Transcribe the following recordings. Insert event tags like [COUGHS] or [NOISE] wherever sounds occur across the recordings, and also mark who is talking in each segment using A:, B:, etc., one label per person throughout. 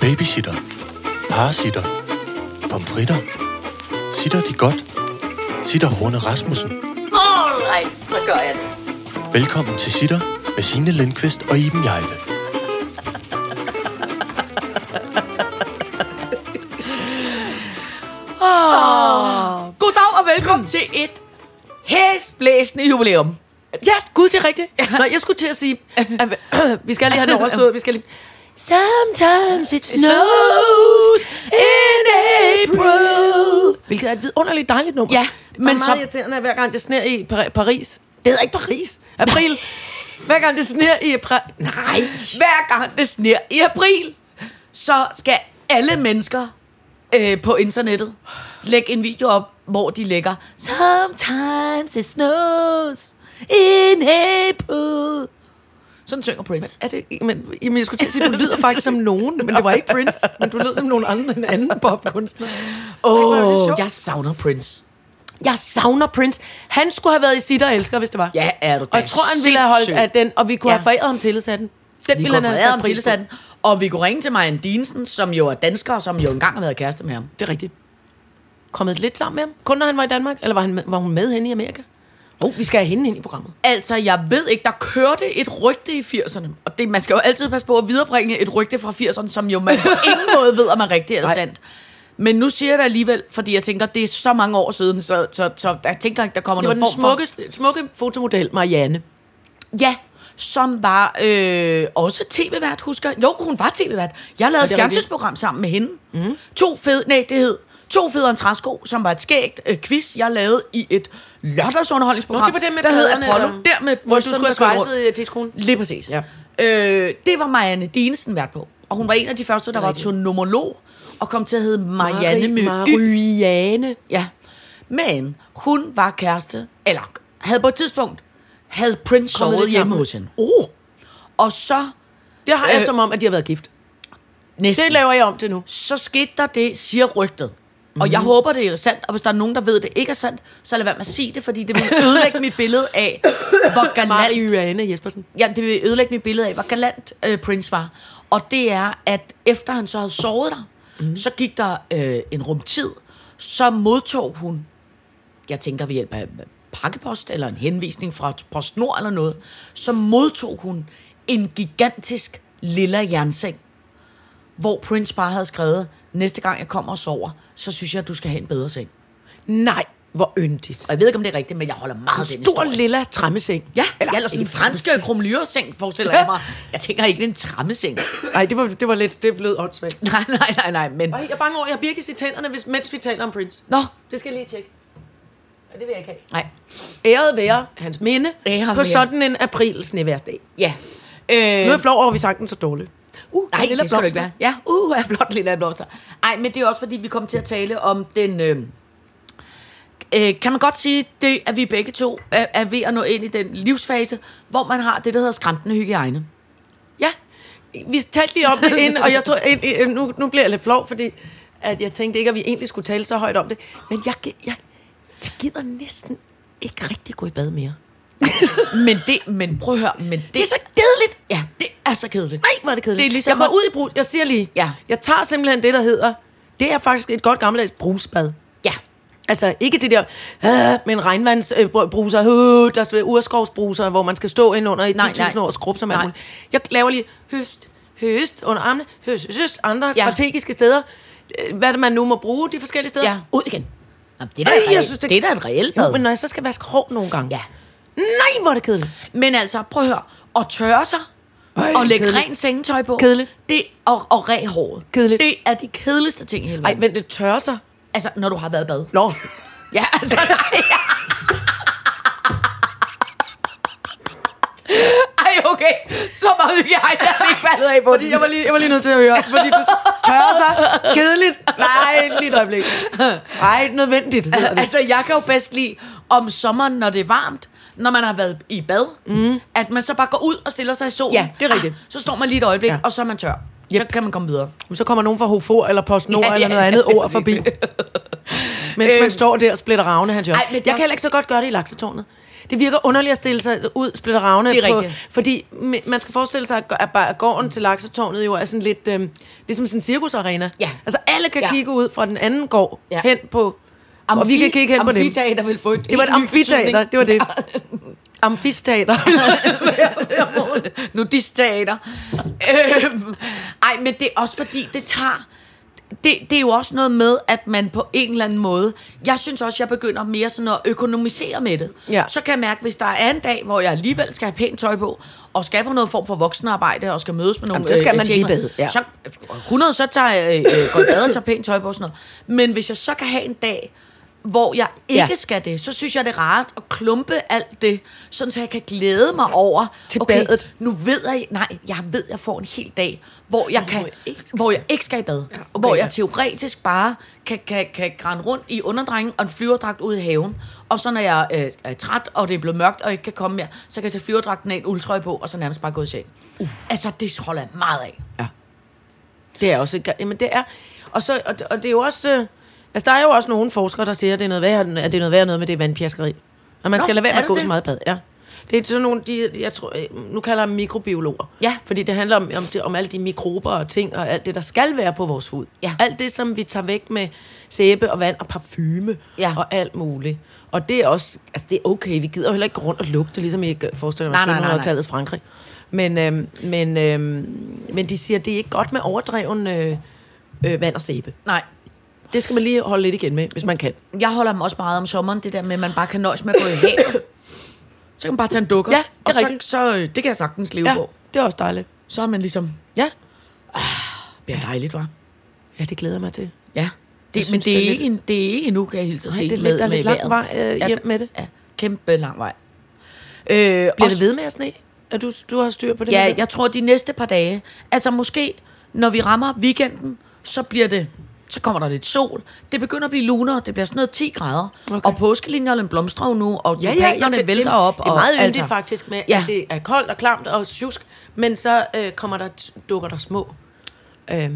A: Babysitter. Parasitter. Pomfritter. Sitter de godt? Sitter Horne Rasmussen.
B: Alright, så gør jeg det.
A: Velkommen til Sitter med Signe Lindqvist og Iben Jejle.
C: Goddag og velkommen til et hæsblæsende jubilæum. Ja, gud, det er rigtigt. Nå, jeg skulle til at sige, at vi skal lige have det overstået. Vi skal lige...
D: Sometimes it snows in April.
C: Hvilket er et vidunderligt dejligt nummer.
D: Ja,
C: men
D: og meget
C: så... irriterende, at hver gang det sner i Par- Paris. Det hedder ikke Paris. April. hver gang det sner i april... Nej. Hver gang det sner i april, så skal alle mennesker øh, på internettet lægge en video op, hvor de lægger
D: Sometimes it snows in April.
C: Sådan synger Prince.
D: Er det
C: Men, jamen, jeg skulle til at sige, du lyder faktisk som nogen, men det var ikke Prince. Men du lød som nogen andre, en anden popkunstner. Åh, oh, jeg savner Prince. Jeg savner Prince. Han skulle have været i Sitter og Elsker, hvis det var.
D: Ja, er du da
C: Og jeg tror, han ville have holdt
D: sindssyg.
C: af den, og vi kunne
D: Ja.
C: ja. have foræret ham tillidshatten. Den
D: Vi
C: ville han
D: kunne
C: have
D: have
C: sat
D: ham
C: pris på.
D: tilsat. Og vi kunne ringe til Marianne Dinesen, som jo er dansker, og som jo engang har været kæreste med ham.
C: Det er rigtigt. Kommet lidt sammen med ham? Kun når han var i Danmark? Eller var, han med, var hun med henne i Amerika? Oh, vi skal have hende ind i programmet.
D: Altså, jeg ved ikke, der kørte et rygte i 80'erne. Og det, man skal jo altid passe på at viderebringe et rygte fra 80'erne, som jo [LAUGHS] man på ingen måde ved, om er rigtigt eller
C: Nej.
D: sandt. Men nu siger jeg det alligevel, fordi jeg tænker, det er så mange år siden, så, så, så jeg tænker ikke, der kommer
C: Det var
D: noget
C: den
D: form for-
C: smukke, smukke fotomodel, Marianne.
D: Ja, som var øh, også tv-vært, husker jeg. Jo, hun var tv-vært. Jeg lavede
C: det
D: et
C: er Mhm.
D: fjernsynsprogram sammen med hende. Mm. To fed, nej, det hed To fede og en træsko, som var et skægt øh, quiz, jeg lavede i et lørdagsunderholdningsprogram.
C: Nå, det var det med
D: der hed
C: pladerne,
D: Apollo.
C: eller-
D: Der med
C: Hvor du
D: brysterne,
C: skulle have
D: der kørte rundt.
C: svejset øh, til skolen.
D: Lige præcis.
C: Ja.
D: Øh, det var Marianne Dinesen vært på. Og hun var en af de første, der var tonomolog og kom til at hedde Marianne med Y.
C: Marianne.
D: Ja. Men hun var kæreste, eller havde på et tidspunkt, havde Prince
C: Kommet
D: sovet
C: lidt
D: hjemme
C: sammen.
D: hos hende. Oh. Og så
C: Det har jeg
D: Øh,
C: som om, at de har været gift.
D: næsten,
C: Det laver jeg om til nu.
D: så skete der det, siger rygtet. Og jeg
C: Mhm.
D: håber, det er sandt, og hvis der er nogen, der ved, det ikke er sandt, så lad være med at sige det, fordi det vil ødelægge mit billede af, hvor galant
C: Marianne Jespersen.
D: ja, det vil ødelægge mit billede af, hvor galant øh, Prince var. Og det er, at efter han så havde sovet der, mm. så gik der øh, en rumtid, så modtog hun, jeg tænker ved hjælp af øh, pakkepost eller en henvisning fra PostNord eller noget, så modtog hun en gigantisk lilla jernseng, hvor Prince bare havde skrevet, næste gang jeg kommer og sover, så synes jeg, at du skal have en bedre seng.
C: Nej, hvor yndigt.
D: Og jeg ved ikke, om det er rigtigt, men jeg holder meget
C: En
D: af den
C: stor
D: historie.
C: lilla træmmeseng.
D: Ja, eller, eller sådan en
C: ikke
D: fransk krumlyreseng, forestiller jeg mig. Jeg tænker ikke, det er en trammeseng. [LAUGHS]
C: Nej, det var, det var lidt, det lød åndssvagt.
D: Nej, nej, nej, nej, men...
C: Ej, jeg er bange over, jeg har birkes i tænderne, hvis, mens vi taler om Prince.
D: Nå,
C: Det skal jeg lige tjekke. Og det vil jeg ikke have.
D: nej.
C: Æret være hans minde
D: Æret
C: på
D: være.
C: sådan en april sneværsdag.
D: Ja. Øh,
C: Nu er jeg flov over, at vi sang den så dårligt. Uh,
D: nej,
C: den
D: det
C: lille
D: skal du ikke
C: blomster.
D: være. Ja, uh, [LAUGHS] er flot lille blomster. Ej, men det er også, fordi vi kom til at tale om den... Øh, øh, kan man godt sige, det, at vi begge to er, er ved at nå ind i den livsfase, hvor man har det, der hedder skrantende hygiejne.
C: Ja, vi talte lige om det
D: [LAUGHS]
C: ind, og jeg tror, ind, ind, nu, nu bliver jeg lidt flov, fordi at jeg tænkte ikke, at vi egentlig skulle tale så højt om det. Men jeg, gi- jeg, jeg gider næsten ikke rigtig gå i bad mere.
D: Men det... Men prøv at høre, men det...
C: Det er så kedeligt.
D: Ja, det er så kedeligt.
C: Nej, hvor er det kedeligt.
D: Det er ligesom
C: jeg
D: at-
C: går ud i brus. Jeg siger lige,
D: Ja.
C: jeg tager simpelthen det, der hedder, det er faktisk et godt gammeldags brusbad.
D: Ja.
C: Altså ikke det der, øh, men regnvandsbruser, øh, der er urskovsbruser, hvor man skal stå ind under i
D: Nej,
C: 10.000
D: nej.
C: år og skrubbe sig med
D: Nej.
C: muligt. Jeg laver lige høst, høst under armene, høst, høst, andre
D: Ja.
C: ja. strategiske steder. Øh, Hvad er det, man nu må bruge de forskellige steder?
D: Ja.
C: Ud igen.
D: Nå, det er da
C: Ej,
D: et
C: jeg
D: reelt-
C: synes, det-
D: det er da et reelt
C: Jo,
D: bad.
C: men når jeg så skal vaske hår nogle gange.
D: Ja.
C: Nej, hvor er det kedeligt.
D: Men altså, prøv at høre. At tørre sig.
C: Ej,
D: og lægge
C: kedeligt.
D: rent sengetøj på.
C: Kedeligt.
D: Det, og, og ræ håret.
C: Kedeligt.
D: Det er de kedeligste ting i hele
C: Ej,
D: verden.
C: vent, det tørrer sig.
D: Altså, når du har været i bad.
C: Nå.
D: Ja, altså. [LAUGHS] Ej, okay. Så meget hygiejne, jeg har ikke faldet af på
C: Fordi jeg var lige, jeg var lige nødt til at høre, fordi det tørrer sig. Kedeligt. Nej, lige et øjeblik. Nej, nødvendigt. hedder det.
D: Altså, jeg kan jo bedst lide om sommeren, når det er varmt, når man har været i bad, mm. at man så bare går ud og stiller sig i solen.
C: Ja, det er rigtigt.
D: Ah, Så står man lige et øjeblik,
C: Ja.
D: ja. og så er man tør. Så kan man komme videre.
C: Men Så kommer nogen fra Hofor eller PostNord
D: Ja,
C: ja,
D: ja,
C: eller noget
D: ja,
C: andet
D: ja, Øhm. [LAUGHS]
C: ord forbi. Mens man står der og splitter ravne, han gør.
D: Ej, men det er
C: Jeg kan
D: også-
C: heller ikke så godt gøre det i laksetårnet. Det virker underligt at stille sig ud, splitte ravne.
D: Det er
C: på-
D: rigtigt.
C: Fordi me- man skal forestille sig, at gå- at bare gården til Laksetårnet jo er sådan lidt, øhm, ligesom sådan en cirkusarena.
D: Ja.
C: Altså alle kan
D: Ja.
C: kigge ud fra den anden gård
D: Ja.
C: hen på... og vi kan kigge hen på dem.
D: Amfiteater vil få en
C: Det var et
D: helt ny
C: amfiteater,
D: betydning.
C: det var det. Amfisteater.
D: [LAUGHS] nudistater. øhm, ej, men det er også fordi, det tager... Det, det er jo også noget med, at man på en eller anden måde... Jeg synes også, jeg begynder mere sådan at økonomisere med det.
C: Ja.
D: Så kan jeg mærke, hvis der er en dag, hvor jeg alligevel skal have pænt tøj på, og skal på noget form for voksenarbejde, og skal mødes med nogle... øh,
C: Jamen, så skal man lige
D: tjenere,
C: bade, ja.
D: Så 100, så tager jeg, øh, går i bad og tager pænt tøj på og sådan noget. Men hvis jeg så kan have en dag, hvor jeg ikke
C: Ja.
D: ja. skal det, så synes jeg, det er rart at klumpe alt det, sådan så jeg kan glæde mig over,
C: Til badet.
D: nu ved jeg, nej, jeg ved, jeg får en hel dag, hvor jeg, kan,
C: jeg ikke skal-
D: hvor jeg ikke skal i bad. Ja, okay, hvor jeg teoretisk bare kan, kan, kan grænne rundt i underdrengen og en flyverdragt ud i haven. Og så når jeg øh, er træt, og det er blevet mørkt, og ikke kan komme mere, så kan jeg tage flyverdragten af en uldtrøje på, og så nærmest bare gå i seng. Uff. Altså, det holder jeg meget af.
C: Det er også... et gre- Jamen, det er... Og, så, og, og det er jo også... øh, Altså, der er jo også nogle forskere, der siger, at det er noget værre, at det er noget, værre noget med det vandpjaskeri. Og man
D: Nå,
C: skal lade være
D: er
C: med
D: det
C: at gå
D: det?
C: så meget i bad, ja. Det er sådan nogle, de, jeg tror, øh, nu kalder jeg dem mikrobiologer.
D: Ja.
C: Fordi det handler om, om, det, om alle de mikrober og ting, og alt det, der skal være på vores hud.
D: Ja.
C: Alt det, som vi tager væk med sæbe og vand og parfume
D: Ja.
C: og alt muligt. Og det er også, altså det er okay, vi gider jo heller ikke gå rundt og lugte, ligesom I ikke forestiller
D: Nej, nej, nej, nej.
C: mig, 1700-tallets Frankrig. Men, øhm, men, øhm, men de siger, at det er ikke godt med overdreven øh, øh, vand og sæbe.
D: Nej,
C: Det skal man lige holde lidt igen med, hvis man kan.
D: jeg holder mig også meget om sommeren, det der med, at man bare kan nøjes med at gå i havet. [COUGHS] Så kan man bare tage en dukker.
C: Ja, det er
D: og så,
C: rigtigt.
D: så, øh, det kan jeg sagtens leve
C: Ja,
D: ja. på.
C: det er også dejligt.
D: Så er man ligesom, Ah,
C: Ja,
D: det er dejligt, var.
C: ja det glæder jeg mig til.
D: Ja. Det, men
C: synes,
D: det, det,
C: det er
D: er ikke, en, det er ikke endnu, kan jeg hilse at
C: Nej,
D: sige.
C: det er lidt- der er lidt lang
D: vejret.
C: vej, øh,
D: Ja,
C: hjem
D: der-
C: med det.
D: Ja, kæmpe lang vej. Øh, Bliver
C: Bliver det ved med at sne? Er du, du har styr på det?
D: Ja,
C: med det?
D: jeg tror, de næste par dage, altså måske, når vi rammer weekenden, så bliver det så kommer der lidt sol. Det begynder at blive lunere. Det bliver sådan noget 10 grader.
C: Okay.
D: Okay. Og påskelinjerne blomstrer jo nu, og
C: Ja, ja,
D: tulipanerne ja,
C: det-
D: ja, vælter
C: det,
D: op.
C: Det er
D: og
C: meget yndigt faktisk med, ja.
D: Ja.
C: at det er koldt og klamt og sjusk, men så øh, kommer der, dukker der små øh,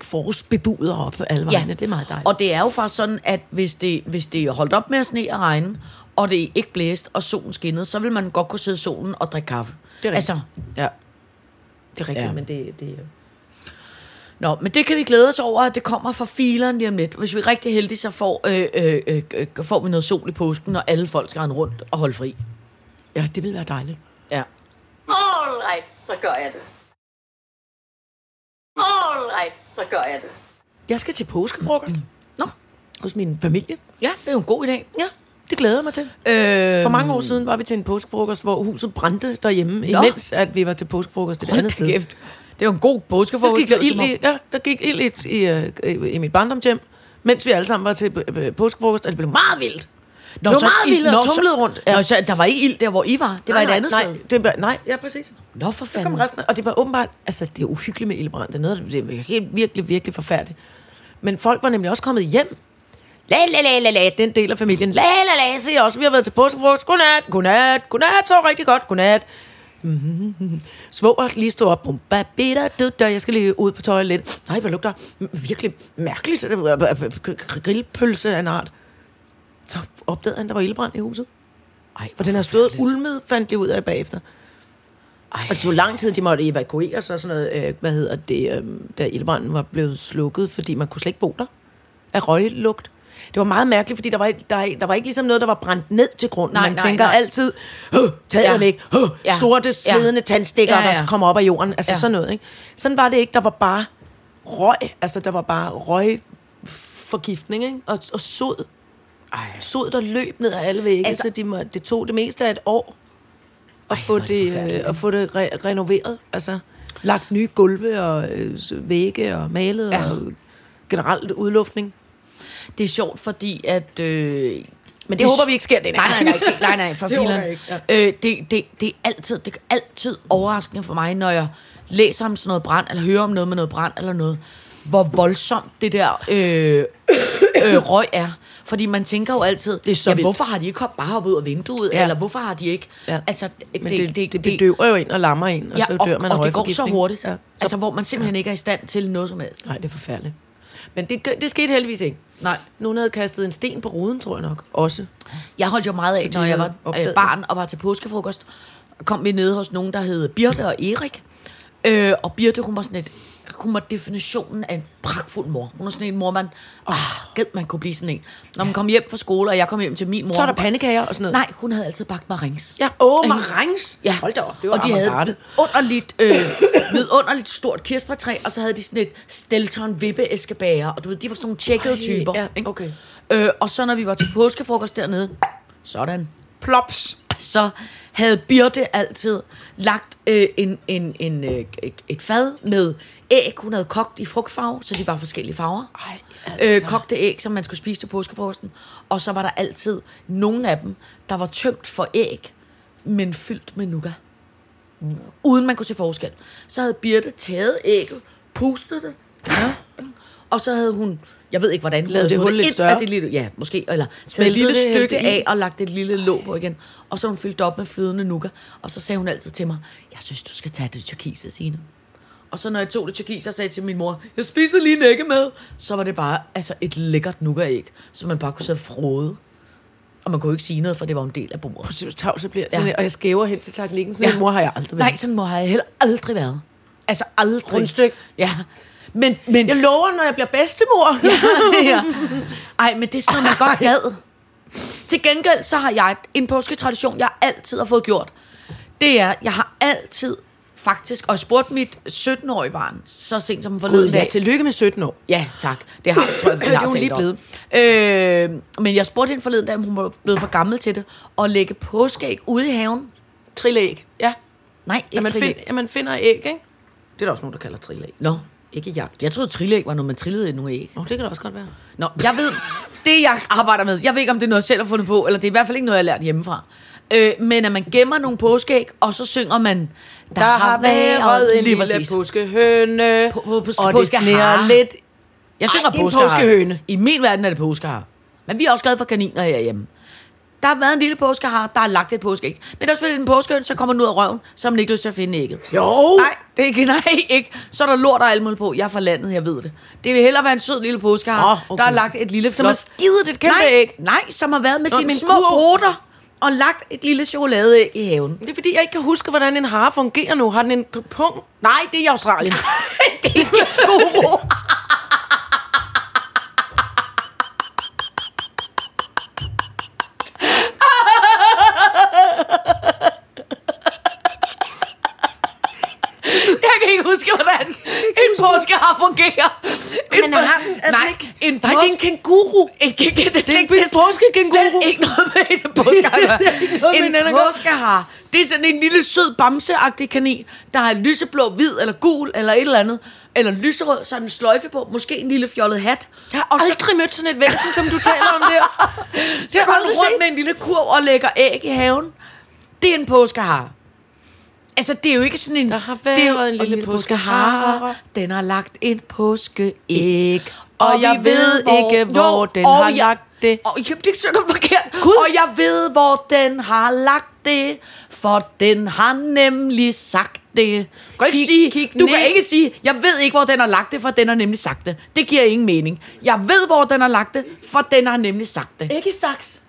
C: forårsbebuder op på alle vegne. Ja. Det er meget dejligt.
D: Og det er jo faktisk sådan, at hvis det, hvis det er holdt op med at sne og regne, og det ikke blæste, og solen skinnede, så vil man godt kunne sidde i solen og drikke kaffe.
C: det er
D: altså,
C: ja. Det er rigtigt, ja.
D: Ja.
C: men det, det
D: Nå, men det kan vi glæde os over, at det kommer fra fileren lige om lidt. Hvis vi er rigtig heldige, så får, øh, øh, øh, øh, får vi noget sol i påsken, og alle folk skal rende rundt og holde fri.
C: ja, det vil være dejligt.
D: Ja.
B: All right, så gør jeg det. All right, så gør jeg det.
C: Jeg skal til påskefrokost
D: Nå,
C: hos min familie.
D: ja, det er jo en god idé.
C: Ja, det glæder jeg mig til.
D: Øh,
C: For mange år siden var vi til en påskefrokost, hvor huset brændte derhjemme,
D: Nå.
C: imens at vi var til påskefrokost et andet sted.
D: Kæft. Det er jo en god
C: Der
D: påskeforhold.
C: gik, der ild i, ja, der gik ild i, i, øh, i, i mit barndomshjem, mens vi alle sammen var til øh, øh, påskefrokost, og det blev meget vildt. Nå, det var
D: så
C: meget
D: ild-
C: vildt, og
D: nå, så-
C: tumlede rundt.
D: Nå, så der var ikke ild der, hvor I var. Det var
C: nej,
D: et andet
C: nej,
D: sted.
C: Nej, det var, nej, ja, præcis.
D: Nå, for
C: Så kom
D: fanden.
C: resten, af- og det var åbenbart, altså det er uhyggeligt med ildbrand, det er noget, det er helt, virkelig, virkelig forfærdeligt. Men folk var nemlig også kommet hjem. La, la, la, la, la, den del af familien. La, la, la, se også, vi har været til påskefrokost. Godnat, godnat, godnat, så rigtig godt, godnat. [LAUGHS] Svoger lige stod op. Bum, ba, bida, du, da, jeg skal lige ud på toilettet. Nej, hvor lugter m- virkelig mærkeligt. Det var, øh, øh, øh, Grillpølse af en art. Så opdagede han, der var ildbrand i huset. Ej, for den har stået og ulmet, fandt de ud af bagefter. Ej. Og det tog lang tid, de måtte evakuere sig og sådan noget, øh, hvad hedder det, øh, da ildbranden var blevet slukket, fordi man kunne slet ikke bo der af røglugt. Det var meget mærkeligt, fordi der var, ikke- der, der var ikke ligesom noget, der var brændt ned til grunden.
D: Nej,
C: man
D: nej,
C: tænker
D: nej.
C: altid, "Huh, taget
D: Ja.
C: ja. væk, huh, ja.
D: Ja.
C: sorte,
D: Ja.
C: svedende ja. tandstikker, ja,
D: Ja,
C: ja.
D: ja.
C: der kommer op af jorden. Altså ja.
D: Ja.
C: sådan noget, ikke? Sådan var det ikke. Der var bare røg, altså der var bare røgforgiftning, ikke? Og, og sod. Ej. Sod, der løb ned ad alle vægge, altså,
D: Altså-
C: så de må, det tog det meste af et år
D: hvor
C: at få
D: er det
C: det, øh,
D: forfærdeligt.
C: at få det re- renoveret. Altså lagt nye gulve og øh, s- vægge og malet ja.
D: Ja.
C: og generelt udluftning.
D: Det er sjovt, fordi at... Øh,
C: Men det håber vi ikke sker denne
D: Nej, nej,
C: gang.
D: nej, nej, nej,
C: [LAUGHS]
D: nej for
C: Det håber
D: filen.
C: jeg ikke,
D: Øh, det, det, det, er altid, det er altid overraskende for mig, når jeg læser om sådan noget brand, eller hører om noget med noget brand, eller noget, hvor voldsomt det der øh, [COUGHS] øh, røg er. Fordi man tænker jo altid, det
C: er så
D: ja,
C: vildt."
D: hvorfor har de ikke hop- bare hoppet ud af vinduet,
C: Ja.
D: ja. eller hvorfor har de ikke...
C: Ja.
D: Altså, det,
C: Men det, det, det, det bedøver jo ind og lammer en, og ja, så dør man af
D: og, og det går så
C: røgforgiftning.
D: hurtigt. Altså,
C: Ja.
D: Ja. Altså, hvor man simpelthen ikke er i stand til noget som helst.
C: Nej, det er forfærdeligt. Men det, gø- det skete heldigvis ikke.
D: Nej.
C: Nogen havde kastet en sten på ruden, tror jeg nok. Også.
D: Jeg holdt jo meget af, når jeg var
C: opdagede
D: øh,
C: det.
D: barn og var til påskefrokost, kom vi nede hos nogen, der hed Birte og Erik. Øh, og Birte, hun var sådan et, hun var definitionen af en pragtfuld mor. Hun var sådan en mor, man, åh, gad man kunne blive sådan en. Når man kom hjem fra skole, og jeg kom hjem til min mor.
C: Så er der pandekager og sådan noget.
D: Nej, hun havde altid bagt marings.
C: Ja, Øhm, åh,
D: Ikke?
C: marengs.
D: Ja,
C: Hold da op, det var
D: og de havde
C: avantgarde.
D: underligt, øh, vidunderligt stort kirsebærtræ, og så havde de sådan et stelton vippeæskebager, og du ved, de var sådan nogle tjekkede
C: Ej,
D: typer.
C: ja,
D: ikke?
C: okay.
D: Øh, og så når vi var til påskefrokost dernede, sådan, plops, så havde Birte altid lagt øh, en, en, en, øh, et fad med æg, hun havde kogt i frugtfarve, så de var forskellige farver.
C: Ej, altså.
D: øh, kogte æg, som man skulle spise til påskefrokosten. Og så var der altid nogle af dem, der var tømt for æg, men fyldt med nougat uden man kunne se forskel. Så havde Birte taget ægget, pustet det, ja. og så havde hun, jeg ved ikke hvordan, hun
C: Lavet
D: havde
C: det
D: fået
C: hul lidt
D: ind
C: større?
D: af det lille, ja, måske, eller taget
C: Smeltet
D: et lille
C: det, hældt
D: stykke
C: det i?
D: af og lagt et lille låg på igen. Og så havde hun fyldt det op med flydende nougat, og så sagde hun altid til mig, jeg synes, du skal tage det tyrkiske, Signe. Og så når jeg tog det tyrkis, så sagde jeg til min mor, jeg spiser lige en ægge med. Så var det bare altså et lækkert nougat-æg, som man bare kunne sidde og frode. Og man kunne jo ikke sige noget, for det var jo en del af bordet.
C: Så tavs jeg bliver.
D: Ja.
C: Sådan, ja. Og jeg skæver hen til teknikken. Sådan ja. mor har jeg aldrig været.
D: Nej, sådan mor har jeg heller aldrig været. Altså aldrig.
C: Rundstykke.
D: Ja. Men, men,
C: Jeg lover, når jeg bliver bedstemor. Ja.
D: [LAUGHS] ja. Ej, men det er sådan noget, man godt gad. Til gengæld, så har jeg en påsketradition, jeg altid har fået gjort. Det er, jeg har altid faktisk, og jeg spurgte mit 17-årige barn, så sent som forleden
C: [LAUGHS] ja.
D: dag.
C: Tillykke med 17 år.
D: Ja, tak. Det har, tror [CLEARS THROAT] jeg,
C: Det
D: jeg
C: er
D: har
C: hun
D: talt
C: lige
D: om. Øh, men jeg spurgte hende forleden dag, om hun var blevet for gammel til det, og lægge påskeæg ude i haven.
C: Trillæg. Ja.
D: Nej, ikke
C: At man,
D: trille.
C: find, at man finder æg, ikke? Det er der også nogen, der kalder trillæg.
D: Nå, ikke jagt. Jeg troede, trilleæg var, når man trillede nogle æg.
C: Nå, det kan det også godt være.
D: Nå, jeg ved, det jeg arbejder med, jeg ved ikke, om det er noget, jeg selv har fundet på, eller det er i hvert fald ikke noget, jeg har lært hjemmefra. Øh, men at man gemmer nogle påskeæg, og så synger man,
C: Der har været en
D: lige
C: lille
D: præcis.
C: påskehøne,
D: På- på- påske-
C: og det
D: påskehare.
C: sneer lidt.
D: Jeg
C: Ej,
D: synger
C: det er en
D: påskehare.
C: påskehøne.
D: I min verden er det påskehar. Men vi er også glade for kaniner herhjemme. Der har været en lille påskehar, der har lagt et påskeæg. Men der er selvfølgelig en påskehøn, så kommer den ud af røven, så har man ikke lyst til at finde ægget.
C: Jo!
D: Nej, det er ikke, [LAUGHS] nej, ikke. Så er der lort og alt muligt på. Jeg er fra landet, jeg ved det. Det vil hellere være en sød lille påskehar,
C: Åh,
D: oh, okay.
C: okay.
D: der har lagt et lille
C: Som har skidet et kæmpe
D: nej,
C: æg.
D: Nej, som har været med
C: Nå,
D: sine
C: en
D: små
C: skurv.
D: poter og lagt et lille chokoladeæg i haven.
C: Det er fordi, jeg ikke kan huske, hvordan en hare fungerer nu. Har den en p- pung? Nej, det er i [LAUGHS] Australien.
D: det er ikke guru. Jeg kan ikke huske, hvordan en påske har fungeret. En
C: Men
D: pås-
C: har den- er den
D: Nej,
C: ikke-
D: en
C: Nej, det er en
D: kænguru. En, kæ- det er
C: Det er
D: slet ikke
C: en påskekænguru.
D: Slet ikke noget med en påskehar. at gøre.
C: [LAUGHS] Det er ikke noget med
D: en
C: en anden at gøre.
D: påskehar. Det er sådan en lille sød bamseagtig kanin, der har lyseblå, hvid eller gul eller et eller andet. Eller lyserød, så har den sløjfe på. Måske en lille fjollet hat.
C: Jeg har aldrig mødt sådan et væsen, som du taler om der. Det
D: Så
C: har jeg
D: går den
C: aldrig
D: rundt
C: set.
D: med en lille kurv og lægger æg i haven. Det er en påskehar. Altså, det er jo ikke sådan en...
C: Der har
D: det er
C: været en lille påskehare.
D: Den har lagt en påskeæg.
C: Og jeg
D: vi
C: ved ikke, hvor den
D: og
C: har lagt det.
D: Og, jamen, det synger forkert. Og jeg ved, hvor den har lagt det, for den har nemlig sagt det. Du kan,
C: Kig-
D: ikke sige,
C: kig
D: du kan
C: ned.
D: ikke sige, jeg ved ikke, hvor den har lagt det, for den har nemlig sagt det. Det giver ingen mening. Jeg ved, hvor den har lagt det, for den har nemlig sagt det.
C: Æggesaks.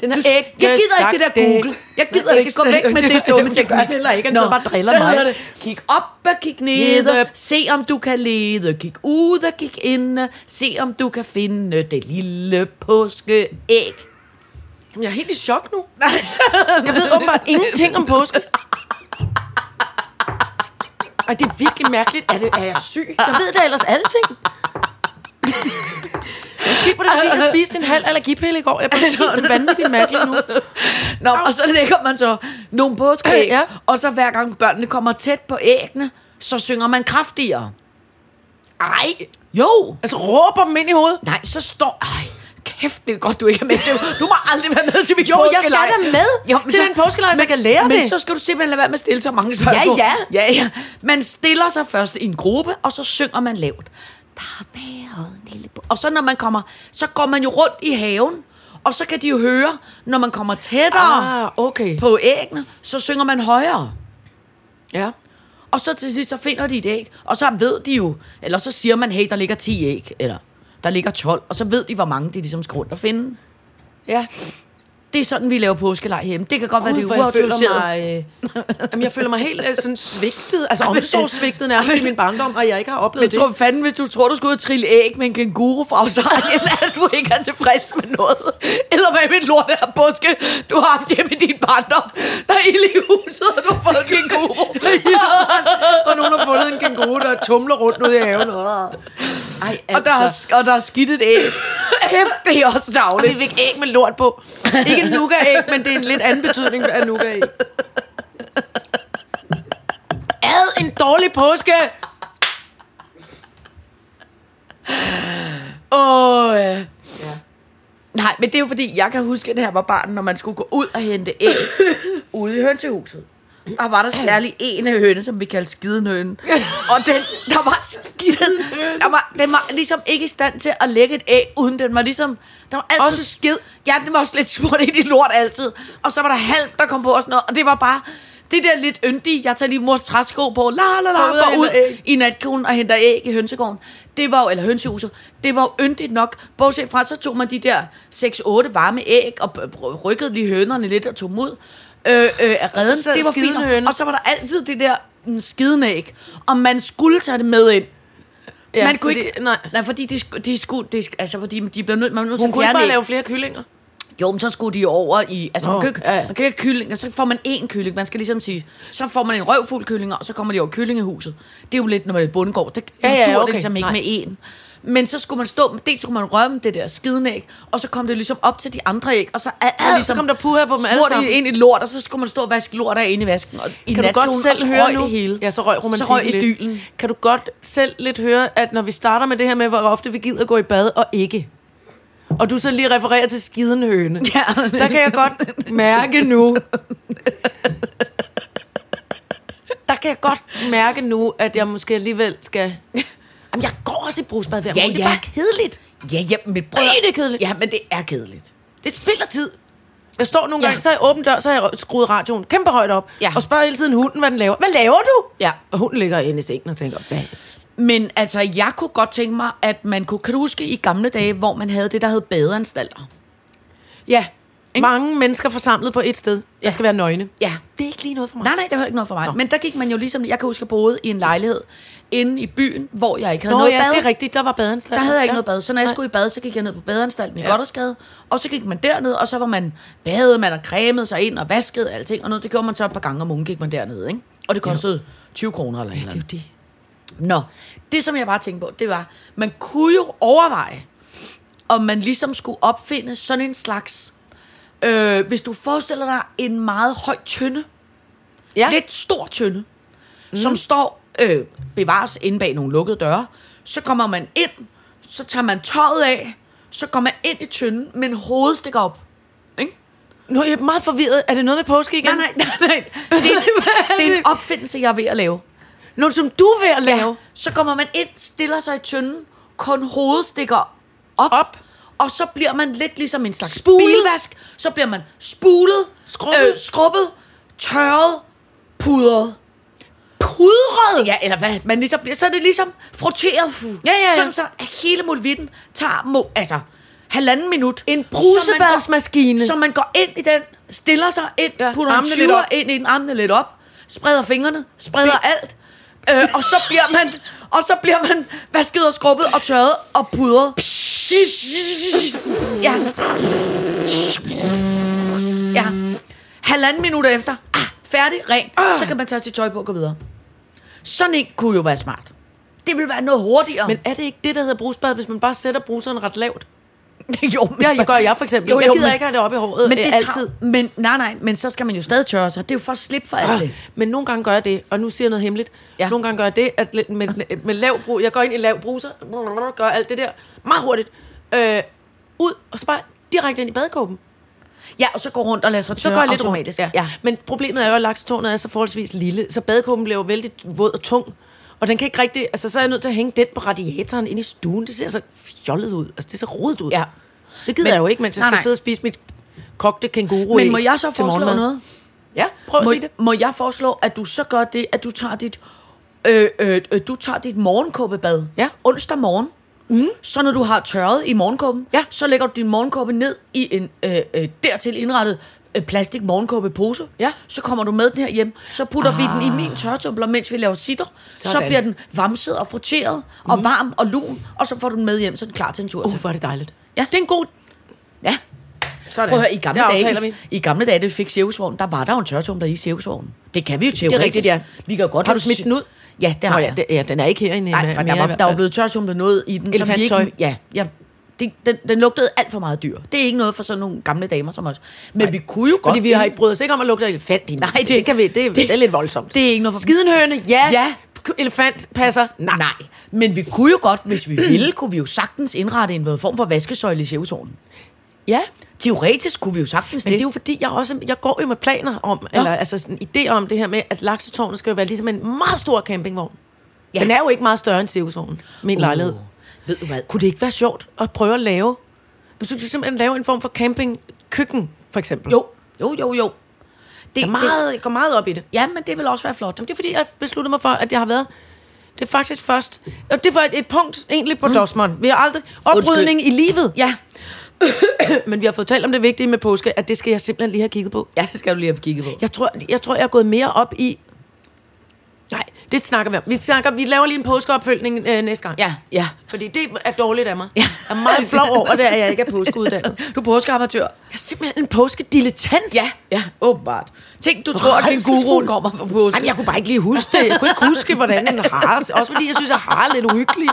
C: Den har
D: Du,
C: æggesaks.
D: jeg gider ikke det der Google. Jeg gider det ikke. Gå væk
C: [LAUGHS]
D: med det dumme
C: Det gør
D: teknik.
C: han heller ikke. Han så bare driller
D: så
C: mig.
D: hedder det, kig op og kig ned.
C: Nede.
D: Se om du kan lede. Kig ud og kig ind. Se om du kan finde det lille påskeæg.
C: Jamen, Jeg er helt i chok nu. jeg ved åbenbart ingenting om påske. Ej, det er virkelig mærkeligt. Er, det, er jeg syg? Jeg ved da ellers alting. Måske var det, fordi jeg spiste en halv allergipille i
D: [LAUGHS]
C: går. Jeg bliver helt vanvittigt mærkelig nu.
D: Nå, og så lægger man så nogle påskeæg.
C: [CLEARS THROAT] Ja.
D: Og så hver gang børnene kommer tæt på æggene, så synger man kraftigere.
C: Ej.
D: Jo.
C: Altså, råber dem ind i hovedet.
D: Nej, så står... Ej, kæft, det er godt, du ikke er med til. Du må aldrig være med til mit
C: Jo, jeg skal
D: påskelejr.
C: da med
D: men
C: til den påskelejr, så jeg kan lære
D: men
C: det.
D: så skal du simpelthen lade være med at stille så mange spørgsmål.
C: ja.
D: ja, ja. Man stiller sig først i en gruppe, og så synger man lavt. Der har været en lille... bo-" Og så når man kommer, så går man jo rundt i haven, og så kan de jo høre, når man kommer tættere
C: Ah, okay.
D: på æggene, så synger man højere.
C: Ja.
D: Og så til sidst, så finder de et æg, og så ved de jo, eller så siger man, hey, der ligger 10 æg, eller der ligger 12, og så ved de, hvor mange de ligesom skal rundt og finde.
C: Ja.
D: Det er sådan, vi laver påskelej hjemme. Det kan godt Gud, være,
C: Gud,
D: det er
C: hvor jeg føler
D: uautoriseret.
C: mig, øh, jamen, jeg føler mig helt øh, sådan svigtet, altså omsorgssvigtet nærmest i min barndom, og jeg ikke har oplevet
D: Men
C: det.
D: tror fanden, hvis du tror, du skal ud og trille æg med en kenguru fra Australien, [LAUGHS] at du ikke er tilfreds med noget. Eller hvad med lort af påske, du har haft hjemme i din barndom. Der er ild i huset, og du har fået en kenguru.
C: og nogen har fundet en kænguru, der tumler rundt ude i haven. Ej, altså.
D: og, der er, og der er skidt et
C: [LAUGHS]
D: æg. Kæft, det er også
C: Og vi
D: dagligt.
C: fik æg med lort på. Ikke en nougat-æg, men det er en lidt anden betydning af nougat-æg. Ad en dårlig påske!
D: Åh, øh. ja. Nej, men det er jo fordi, jeg kan huske, at her var barn, når man skulle gå ud og hente æg ude i hønsehuset. Der var der særlig en af høne, som vi kaldte skidenhønen. Og den, der var, der var, den var ligesom ikke i stand til at lægge et æg, uden den var ligesom... Den var altid
C: Også
D: skid. Ja, den var også lidt smurt ind i lort altid. Og så var der halm, der kom på og sådan noget. Og det var bare det der lidt yndige, jeg tager lige mors træsko på, la la la,
C: Går ud og
D: går ud,
C: henter æg.
D: i natkolen og henter æg i hønsegården. Det var jo, eller hønsehuset, det var jo yndigt nok. Bortset fra, så tog man de der 6-8 varme æg og b- b- rykkede lige hønerne lidt og tog mod øh, øh, af redden.
C: sad
D: Det var
C: skidende
D: fint. nok.
C: høne.
D: Og så var der altid det der mm, skidende æg. Og man skulle tage det med ind. Ja, man kunne
C: fordi-
D: ikke,
C: nej.
D: nej, fordi de, sku- de skulle, de, altså fordi de blev nødt, man blev nødt til
C: Hun
D: at
C: kunne ikke
D: fjerne
C: bare
D: æg.
C: lave flere kyllinger.
D: Jo, men så skulle de jo over i... Altså, man,
C: Nå,
D: kan, jo ikke-
C: ja.
D: man kan ikke have kylling, og så får man én kylling. Man skal ligesom sige, så får man en røvfuld kylling, og så kommer de over i kyllingehuset. Det er jo lidt, når man er i bundgård. Det
C: Ja,
D: ja,
C: ja,
D: ja, dur
C: okay.
D: det ligesom ikke
C: Nej.
D: Nej. med én. Men så skulle man stå... Dels skulle man rømme det der skidenæg, og så kom det ligesom op til de andre æg, og så ad,
C: Ja, så kom der puha på dem alle
D: smurte
C: sammen.
D: de ind i lort, og så skulle man stå og vaske lort af inde i vasken. Og i
C: Kan du
D: natkjolen,
C: godt
D: og så
C: selv høre
D: røg
C: nu?
D: Det hele.
C: Ja, så røg romantikken
D: Så røg
C: lidt.
D: idyllen. [LAUGHS]
C: Kan du godt selv lidt høre, at når vi starter med det her med, hvor ofte vi gider gå i bad og ikke, og du så lige refererer til skidenhøne,
D: Ja.
C: der kan jeg godt mærke nu, der kan jeg godt mærke nu, at jeg måske alligevel skal...
D: Jamen, jeg går også i brusbad hver
C: Ja,
D: morgen. Det
C: ja.
D: er bare kedeligt. Ja, ja, men prøv
C: Ej, det er kedeligt.
D: Ja, men det er kedeligt.
C: Det spilder tid. Jeg står nogle
D: Ja.
C: gange, så er jeg åben dør, så har jeg skruet radioen kæmpe højt op,
D: Ja.
C: og spørger hele tiden hunden, hvad den laver. Hvad laver du?
D: Ja.
C: Og hunden ligger inde i sengen og tænker, hvad?
D: Men altså, jeg kunne godt tænke mig, at man kunne... Kan du huske i gamle dage, hvor man havde det, der hed badeanstalter?
C: Ja, mange mennesker forsamlet på et sted. Jeg skal være nøgne.
D: Ja.
C: Det er ikke lige noget for mig.
D: Nej, nej, det var ikke noget for mig. Nå. Men der gik man jo ligesom... Jeg kan huske, jeg boede i en lejlighed inde i byen, hvor jeg ikke havde
C: Nå
D: noget
C: ja,
D: bad.
C: det er rigtigt. Der var badeanslag.
D: Der havde jeg ikke
C: ja.
D: noget bad. Så når jeg
C: Nej.
D: skulle i bad, så gik jeg ned på badeanstalten i ja. Goddersgade. Og så gik man derned, og så var man badet, man og cremede sig ind og vaskede og alting. Og noget, det gjorde man så et par gange om ugen, gik man derned, ikke? Og det kostede 20 kroner eller et eller
C: Det er
D: andet.
C: jo det.
D: Nå, det som jeg bare tænkte på, det var, man kunne jo overveje, om man ligesom skulle opfinde sådan en slags, øh, hvis du forestiller dig en meget høj tønde,
C: Ja.
D: ja. lidt stor tønde, mm. som står øh, bevares inde bag nogle lukkede døre. Så kommer man ind, så tager man tøjet af, så går man ind i tønden, men hovedet stikker op. Ikke?
C: Nu er jeg meget forvirret. Er det noget med påske igen?
D: Nej, nej, nej, [LAUGHS] nej. Det, er- det er en opfindelse, jeg er ved at lave.
C: Noget, som du er ved at lave.
D: Ja, så kommer man ind, stiller sig i tønden, kun hovedet stikker op,
C: Op.
D: og så bliver man lidt ligesom en slags
C: Spulet.
D: spulet. bilvask. Så bliver man spulet,
C: Skrubbet.
D: øh, skrubbet tørret, pudret. Pudret? Ja, eller hvad? Man ligesom bliver, så er det ligesom frotteret. Fu.
C: ja, ja.
D: Sådan så at hele mulvitten tager må, altså halvanden minut.
C: En
D: Så man går-
C: brusebadsmaskine.
D: Så man går ind i den, stiller sig ind,
C: Ja,
D: ja, putter en
C: armene lidt
D: 20'er
C: op.
D: ind i den, armene lidt op, spreder fingrene, spreder alt, øh, og så bliver man, og så bliver man vasket og skrubbet og tørret og pudret. Ja. Ja. Halvanden minut efter, ah, færdig, ren, så kan man tage sit tøj på og gå videre. Sådan en kunne jo være smart. Det ville være noget hurtigere.
C: Men er det ikke det, der hedder brusbad, hvis man bare sætter bruseren ret [LAUGHS] lavt?
D: [LAUGHS] jo, men,
C: Det gør jeg for eksempel.
D: Jo, jo,
C: jeg gider
D: men-
C: ikke have det op i håret
D: men det
C: øh,
D: tager,
C: altid.
D: Men, nej, nej, men så skal man jo stadig tørre sig. Det er jo for at slippe for alt det.
C: Øh, Men nogle gange gør jeg det, og nu siger jeg noget hemmeligt. Ja.
D: Ja.
C: Nogle gange gør jeg det, at lidt med, med lav brug, jeg går ind i lav bruser, gør alt det der meget hurtigt. Øh, ud, og så bare direkte ind i badekåben.
D: Ja, og så går rundt og lader sig
C: Så
D: tørre
C: går jeg lidt
D: automatisk.
C: rundt. Ja. ja. Men problemet er jo, at laksetårnet er så forholdsvis lille, så badekåben bliver jo vældig våd og tung. Og den kan ikke rigtig... Altså, så er jeg nødt til at hænge den på radiatoren inde i stuen. Det ser så fjollet ud. Altså, det ser rodet ud.
D: Ja.
C: Det gider men,
D: Men-
C: jeg jo ikke, mens jeg
D: Nej,
C: skal nej.
D: nej.
C: sidde og spise mit kogte kænguru
D: Men må jeg så foreslå noget?
C: Ja, prøv at
D: må,
C: sige det.
D: Må jeg foreslå, at du så gør det, at du tager dit, øh, øh, øh, du tager dit morgenkåbebad
C: Ja.
D: onsdag morgen. Mm. Så når du har tørret i morgenkåben,
C: Ja.
D: så lægger du din morgenkåbe ned i en øh, øh, dertil indrettet øh, plastik morgenkåbepose.
C: Ja.
D: Så kommer du med den her hjem, så putter ah. vi den i min tørretumbler, mens vi laver sitter. Så
C: Sådan.
D: bliver den vamset og frotteret mm. og varm og lun, og så får du den med hjem, så er den klar til en tur til.
C: Uh, hvor er det dejligt.
D: Ja.
C: Det er en god... Ja. Sådan.
D: Prøv at høre, i gamle,
C: Der
D: dage,
C: aftaler
D: hvis- i gamle dage, det fik Sjævsvogn, der var der jo en tørretumbler i Sjævsvognen. Det kan vi jo teoretisk.
C: rigtigt, ja.
D: Vi kan jo godt
C: Har
D: have
C: du smidt
D: sy-
C: den ud?
D: Ja, det har
C: Nå,
D: jeg.
C: ja, det, ja, den er ikke herinde.
D: Nej, for der var, der var blevet tørretumblet noget i den, som vi ikke...
C: Elefanttøj.
D: Ja, ja. Det, den, den lugtede alt for meget dyr. Det er ikke noget for sådan nogle gamle damer som os. Men Nej. vi kunne jo godt...
C: Fordi vi har ikke brydet os ikke om at lugte af elefant i Nej, det, det, kan vi, det, det, det, er lidt voldsomt.
D: Det er ikke noget for...
C: Skidenhøne, ja.
D: Ja.
C: K- Elefant passer.
D: Nej. Nej. Men vi kunne jo godt, hvis vi ville, kunne vi jo sagtens indrette en form for vaskesøjle i Sjævsvognen.
C: Ja.
D: Teoretisk kunne vi jo sagtens
C: Men det er jo fordi, jeg også jeg går jo med planer om, ja. eller altså sådan idéer om det her med, at laksetårnet skal jo være ligesom en meget stor campingvogn. Ja. Den er jo ikke meget større end Cirkusvognen, min uh. lejlighed.
D: Uh, ved du hvad?
C: Kunne det ikke være sjovt at prøve at lave? Hvis du kunne simpelthen lave en form for campingkøkken, for eksempel.
D: Jo, jo, jo, jo.
C: det er meget, jeg går meget op i det.
D: Ja, men det vil også være flot.
C: Jamen, det er fordi, jeg besluttede mig for, at jeg har været... Det er faktisk først... Og det var et, et punkt egentlig på mm. Dosmond. Vi har aldrig... Oprydning i livet.
D: Ja,
C: [COUGHS] Men vi har fået talt om det vigtige med påske, at det skal jeg simpelthen lige have kigget på.
D: ja det skal du lige have kigget på.
C: Jeg tror, jeg, tror, jeg er gået mere op i... Nej, det snakker vi om. Vi, snakker, vi laver lige en påskeopfølgning øh, næste gang.
D: Ja, ja.
C: Fordi det er dårligt af mig. Ja. Jeg er meget flov over det, at jeg ikke er påskeuddannet. [LAUGHS]
D: Du er påskeamatør.
C: Jeg er simpelthen en påskedilettant.
D: Ja, ja, åbenbart. Tænk, du tror, at kænguruen kommer fra påske.
C: Jamen, jeg kunne bare ikke lige huske det. Jeg kunne ikke huske, hvordan den [LAUGHS] har. Også fordi, jeg synes, at har er lidt uhyggelig.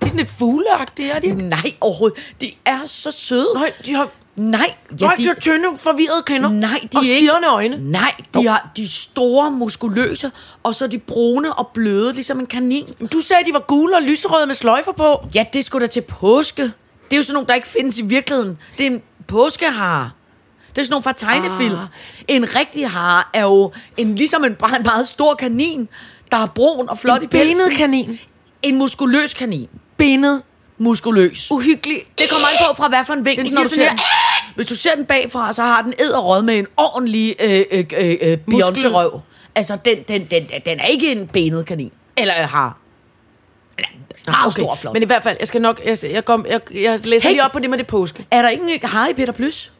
C: De er sådan lidt fugleagtige, er de ikke?
D: Nej, overhovedet. De er så søde.
C: Mm. Nej, de har...
D: Nej,
C: Ja, de... Nej, de har tynde, forvirrede kinder.
D: Nej, de
C: og
D: er ikke...
C: stirrende øjne.
D: Nej, de har de er store, muskuløse, og så er de brune og bløde, ligesom en kanin.
C: Du sagde, at de var gule og lyserøde med sløjfer på.
D: Ja, det skulle da til påske. Det er jo sådan nogle, der ikke findes i virkeligheden. Det er en påskehare. Det er sådan nogle fra tegnefilm. Ah. En rigtig hare er jo en, ligesom en, bare en meget stor kanin, der er brun og flot i
C: En
D: pelsen.
C: benet kanin.
D: En muskuløs kanin.
C: Benet.
D: Muskuløs.
C: Uhyggelig.
D: Det kommer an på fra hvad for en vinkel,
C: Den
D: den
C: siger
D: når du
C: sådan
D: ser den. "Ah!" Hvis du ser den bagfra, så har den æderrød med en ordentlig øh, øh, øh, øh, Beyoncé-røv. Altså, den, den, den, den er ikke en benet kanin. Eller øh, har. Den er meget okay. stor og flot.
C: Ah, Men i hvert fald, jeg skal nok... Jeg, jeg, kom, jeg, jeg læser
D: Hey.
C: hey. lige op på det med det påske.
D: er der ikke en hare i Peter Plys?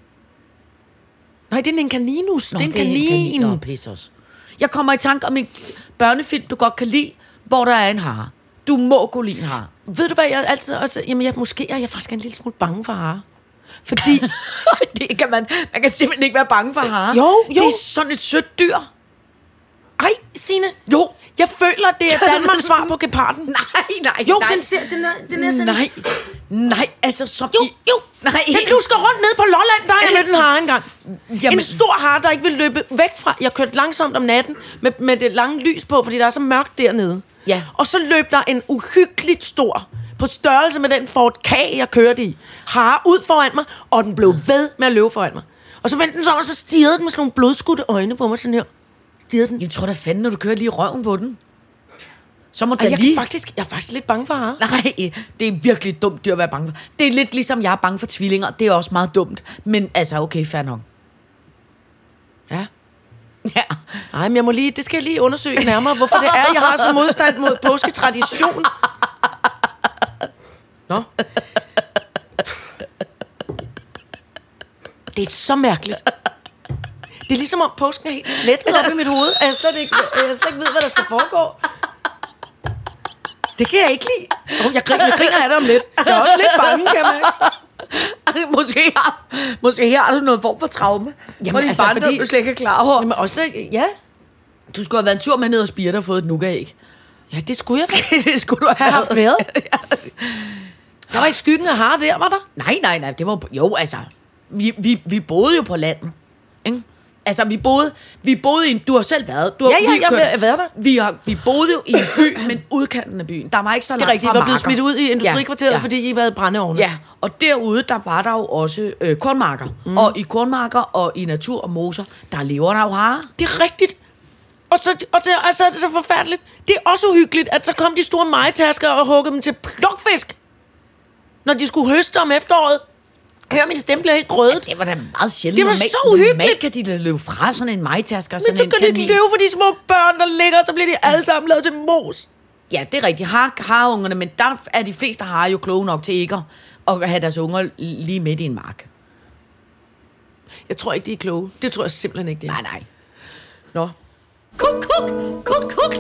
C: Nej, det er en kaninus. Nå, det er en kanin.
D: Nå, pis os. Jeg kommer i tanke om en børnefilm, du godt kan lide, hvor der er en hare. Du må kunne lide en hare. [LAUGHS]
C: Ved du hvad, jeg altid også... Jamen, jeg, måske er jeg faktisk en lille smule bange for harer. Fordi...
D: det kan man, man kan simpelthen ikke være bange for hare.
C: Jo, jo.
D: Det er sådan et sødt dyr. [LAUGHS]
C: Ej, Signe.
D: Jo.
C: Jeg føler, det er Danmarks svar på geparden.
D: Nej, nej,
C: Jo,
D: nej.
C: den, ser, den, er, den er sådan...
D: Nej, nej, altså som
C: Jo,
D: i,
C: jo.
D: nej.
C: Den lusker rundt nede på Lolland, der har jeg mødt en hare engang. Jamen.
D: Jamen.
C: En stor hare, der ikke vil løbe væk fra... Jeg kørte langsomt om natten med, med det lange lys på, fordi der er så mørkt dernede.
D: Ja.
C: Og så løb der en uhyggeligt stor, på størrelse med den Ford K, jeg kørte i, hare ud foran mig, og den blev ved med at løbe foran mig. Og så vendte den så, og så stirrede den med sådan nogle blodskudte øjne på mig sådan her. Stirrede den.
D: Jeg tror da fanden, når du kører lige i røven på den. Så må
C: Og
D: du da
C: jeg, kan
D: lige...
C: faktisk, jeg er faktisk lidt bange for hare.
D: [LAUGHS] Nej, det er virkelig et dumt dyr at være bange for. Det er lidt ligesom, jeg er bange for tvillinger. Det er også meget dumt. Men altså, okay, fair nok. [LAUGHS]
C: Ja.
D: Ja.
C: Nej, men jeg må lige, det skal jeg lige undersøge nærmere, hvorfor det er, jeg har så modstand mod påsketradition. Nå. Det er så mærkeligt. Det er ligesom om påsken er helt slettet op i mit hoved, at jeg slet ikke, at jeg slet ikke ved, hvad der skal foregå. Det kan jeg ikke lide. Oh, jeg, griner, jeg griner af det om lidt. Jeg er også lidt bange, kan man.
D: Altså, måske, har, måske her har du noget form for traume.
C: Jamen,
D: Jamen,
C: altså,
D: altså, barndom,
C: fordi-
D: fordi... du slet ikke er klar over.
C: Jamen også, ja.
D: Du skulle have været en tur med ned og spire, der fået et nuka-æg.
C: Ja, [LAUGHS] det skulle jeg da.
D: det skulle du
C: Have haft [LAUGHS] været. Der var ikke skyggen af har der, var der?
D: Nej, nej, nej, det var... Jo, altså, vi, vi, vi boede jo på landet, ikke? Altså, vi boede, vi boede i en... Du har selv været... Du har
C: Ja, ja,
D: vi
C: jeg
D: kørte-
C: har været der.
D: Vi, har, vi boede jo i en by, men udkanten af byen. Der var ikke så langt
C: Det er rigtigt, I
D: fra
C: var blevet
D: marker.
C: smidt ud i industrikvarteret, ja,
D: ja,
C: ja. fordi I havde brændeovne.
D: Ja, og derude, der var der jo også øh, kornmarker. Mm. Og i kornmarker og i natur og moser, der lever der jo harer.
C: Det er rigtigt. Og så, og det, altså, det er så forfærdeligt. Det er også uhyggeligt, at så kom de store majtasker og huggede dem til plukfisk, når de skulle høste om efteråret.
D: Hør, min stemme bliver helt grødet.
C: Det var da meget sjældent.
D: Det var
C: Normalt-
D: så uhyggeligt.
C: Normalt kan de da løbe fra sådan en majtasker.
D: Men så kan de ikke løbe for de små børn, der ligger, og så bliver de alle sammen lavet til mos. Ja, det er rigtigt. Har, har ungerne, men der er de fleste har jo kloge nok til ikke at- at have deres unger lige midt i en mark.
C: Jeg tror ikke, de er kloge. Det tror jeg simpelthen ikke, det er.
D: Nej, nej.
C: Nå.
B: Kuk, kuk, kuk, kuk.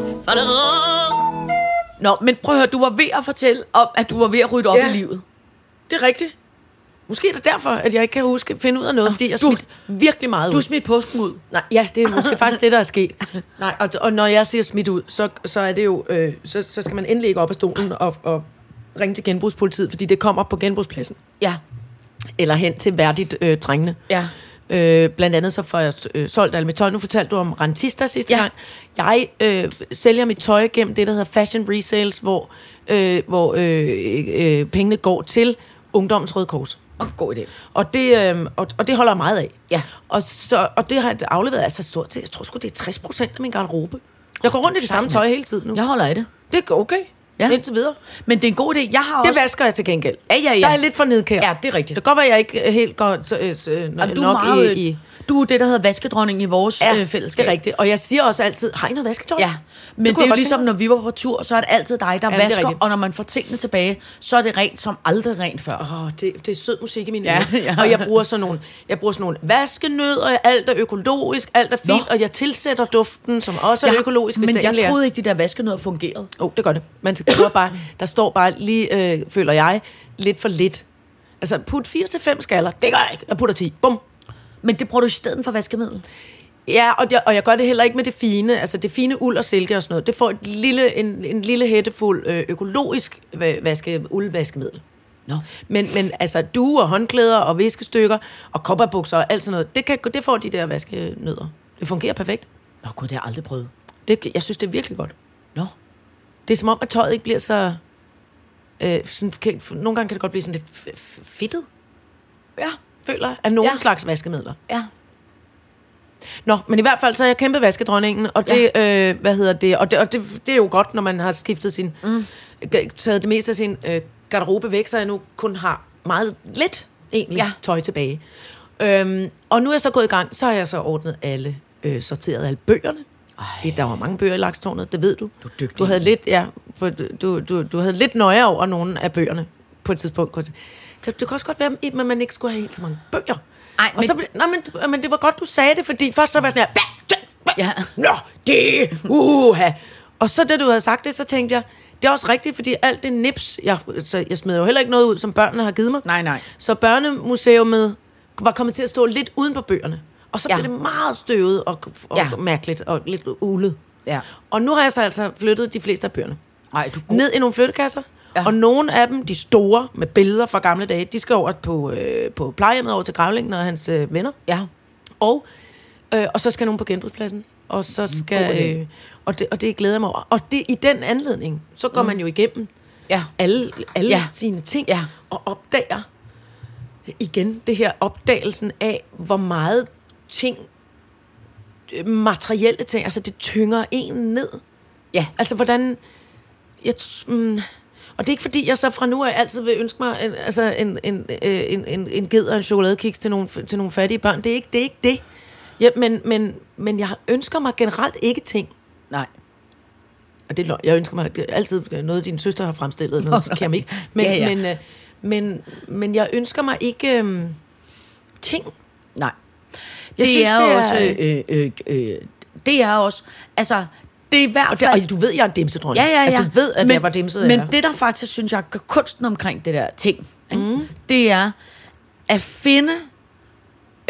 D: Nå, men prøv at høre, du var ved at fortælle om, at du var ved at rydde op
C: Ja.
D: ja. i livet.
C: Det er rigtigt. Måske er det derfor, at jeg ikke kan huske finde ud af noget, fordi jeg smidt virkelig meget
D: Du
C: ud.
D: smidt påsken ud.
C: Nej, ja, det er måske faktisk det, der er sket. [LAUGHS] Nej, og, og når jeg siger smidt ud, så, så er det jo, øh, så, så skal man endelig ikke op af stolen og, og ringe til genbrugspolitiet, fordi det kommer op på genbrugspladsen.
D: Ja.
C: Eller hen til værdigt øh, trængende.
D: Ja.
C: Øh, blandt andet så får jeg øh, solgt alt mit tøj. Nu fortalte du om rentista sidste
D: Ja.
C: ja. gang. Jeg øh, sælger mit tøj gennem det, der hedder fashion resales, hvor, øh, hvor øh, øh, pengene går til Ungdommens Røde Kors.
D: Og god idé.
C: Og det, øhm, og, og det holder jeg meget af.
D: Ja.
C: Og, så, og det har jeg afleveret altså stort set. Jeg tror sgu, det er 60 procent af min garderobe. Jeg går rundt i det samme tøj hele tiden nu.
D: Jeg holder af det.
C: Det er okay.
D: Ja.
C: Indtil videre.
D: Men det er en god idé. Jeg har
C: Det
D: også...
C: vasker jeg til gengæld.
D: Ja, ja, ja.
C: Der er lidt for nedkær.
D: Ja, det er rigtigt.
C: Det kan godt være, jeg ikke helt går øh, øh,
D: Jamen,
C: nok
D: du, er meget,
C: i...
D: i,
C: i
D: du er det, der hedder vaskedronning i vores
C: ja,
D: ja, øh, fællesskab.
C: det er rigtigt. Og jeg siger også altid, har I noget vasketøj?
D: Ja, men det,
C: kunne
D: det
C: jeg
D: er jo
C: godt
D: ligesom,
C: tænke
D: når vi var på tur, så er det altid dig, der
C: det
D: ja,
C: er
D: vasker,
C: rigtigt.
D: og når man får tingene tilbage, så er det rent som aldrig rent før.
C: mig. Åh, det, det er sød musik i mine
D: Ja,
C: ører.
D: ja.
C: Og jeg bruger sådan nogle, jeg bruger sådan nogle vaskenød, og alt er økologisk, alt er fint,
D: Nå.
C: og jeg tilsætter duften, som også er
D: Ja,
C: økologisk, hvis
D: men
C: det
D: jeg
C: endelig er.
D: troede ikke, de der vaskenødder fungerede.
C: Jo, oh, det gør det. Man bruger bare, der står bare lige, øh, føler jeg, lidt for lidt. Altså, put 4 til 5 skaller. Det gør jeg ikke. Jeg putter 10. Bum.
D: Men det bruger du i stedet for vaskemiddel.
C: Ja, og jeg, og jeg gør det heller ikke med det fine. Altså, det fine uld og silke og sådan noget. Det får et lille, en, en lille hættefuld øh, økologisk va- vaske, uldvaskemiddel.
D: Nå.
C: Men, men altså, duer, håndklæder og viskestykker og kopperbukser og alt sådan noget, det, kan, det får de der vaskenødder. Det fungerer perfekt.
D: Nå, gud, det har jeg aldrig prøvet.
C: Det, jeg synes, det er virkelig godt.
D: Nå.
C: Det er som om, at tøjet ikke bliver så... Øh, sådan, kan, nogle gange kan det godt blive sådan lidt f- f- fedtet,
D: Ja,
C: føler jeg, af nogle
D: Ja.
C: ja. slags vaskemidler.
D: ja.
C: Nå, men i hvert fald, så er jeg kæmpe vaskedronningen, og det, ja. øh, hvad hedder det, og, det, og det, det er jo godt, når man har skiftet sin, mm. taget det meste af sin øh, garderobe væk, så jeg nu kun har meget lidt, egentlig,
D: Ja.
C: ja. tøj tilbage. Øhm, og nu er jeg så gået i gang, så har jeg så ordnet alle, øh, sorteret alle bøgerne. Ej. Der var mange bøger i Lakstårnet, det ved du.
D: Du er dygtig.
C: Du havde lidt, ja, på- du, du, du havde lidt nøje over nogle af bøgerne på et tidspunkt. kunne jeg sige. Så det kan også godt være, at man ikke skulle have helt så mange bøger.
D: Ej,
C: og
D: men-
C: så, blev- nej, men, du- men det var godt, du sagde det, fordi først så var jeg sådan her, "Hva? Hva?
D: Ja.
C: Nå, det, uha. Og så da du havde sagt det, så tænkte jeg, det er også rigtigt, fordi alt det nips, jeg, så jeg smed jo heller ikke noget ud, som børnene har givet mig.
D: Nej, nej.
C: Så børnemuseumet var kommet til at stå lidt uden på bøgerne. Og så
D: Ja.
C: ja. blev det meget støvet og, og
D: Ja.
C: ja. mærkeligt og lidt ulet.
D: Ja.
C: Og nu har jeg så altså flyttet de fleste af bøgerne.
D: Ej, du er god.
C: Ned i nogle flyttekasser.
D: Ja.
C: Ja. Og nogle af dem, de store, med billeder fra gamle dage, de skal over på, øh, på plejehjemmet over til Gravlingen og hans øh, venner.
D: Ja.
C: Og, øh, og så skal nogen på genbrugspladsen. Og så
D: Mm, god idé.
C: skal... Øh, og, det, og det glæder jeg mig over. Og det, i den anledning, så går mm. man jo igennem
D: Ja.
C: alle, alle
D: Ja.
C: ja. sine ting
D: Ja.
C: og opdager igen det her opdagelsen af, hvor meget ting, øh, materielle ting, altså det tynger en ned.
D: Ja.
C: Altså hvordan, jeg, t- mm, og det er ikke fordi, jeg så fra nu af altid vil ønske mig en, altså en, en, øh, en, en, en ged og en chokoladekiks til nogle, til nogle fattige børn. Det er ikke det. Er ikke det. Ja, men, men, men jeg ønsker mig generelt ikke ting.
D: Nej.
C: Og det er løgn. Jeg ønsker mig altid øh, noget, din søster har fremstillet, noget så
D: [LAUGHS]
C: kan jeg ikke. Men,
D: Ja,
C: ja,
D: ja.
C: ja. Men, øh, men, men jeg ønsker mig ikke øhm, ting.
D: Nej. Jeg det
C: Jeg
D: synes,
C: synes,
D: er
C: det
D: det
C: er-
D: også... Øh, øh, øh, det er også... Altså, det er i hvert
C: Og, det,
D: fald...
C: og du ved, jeg er en dimsedronning.
D: Ja, ja, ja.
C: Altså, du ved, at jeg var dimset.
D: Men
C: jeg er.
D: det, der faktisk, synes jeg, gør kunsten omkring det der ting, ikke? Mm. det er at finde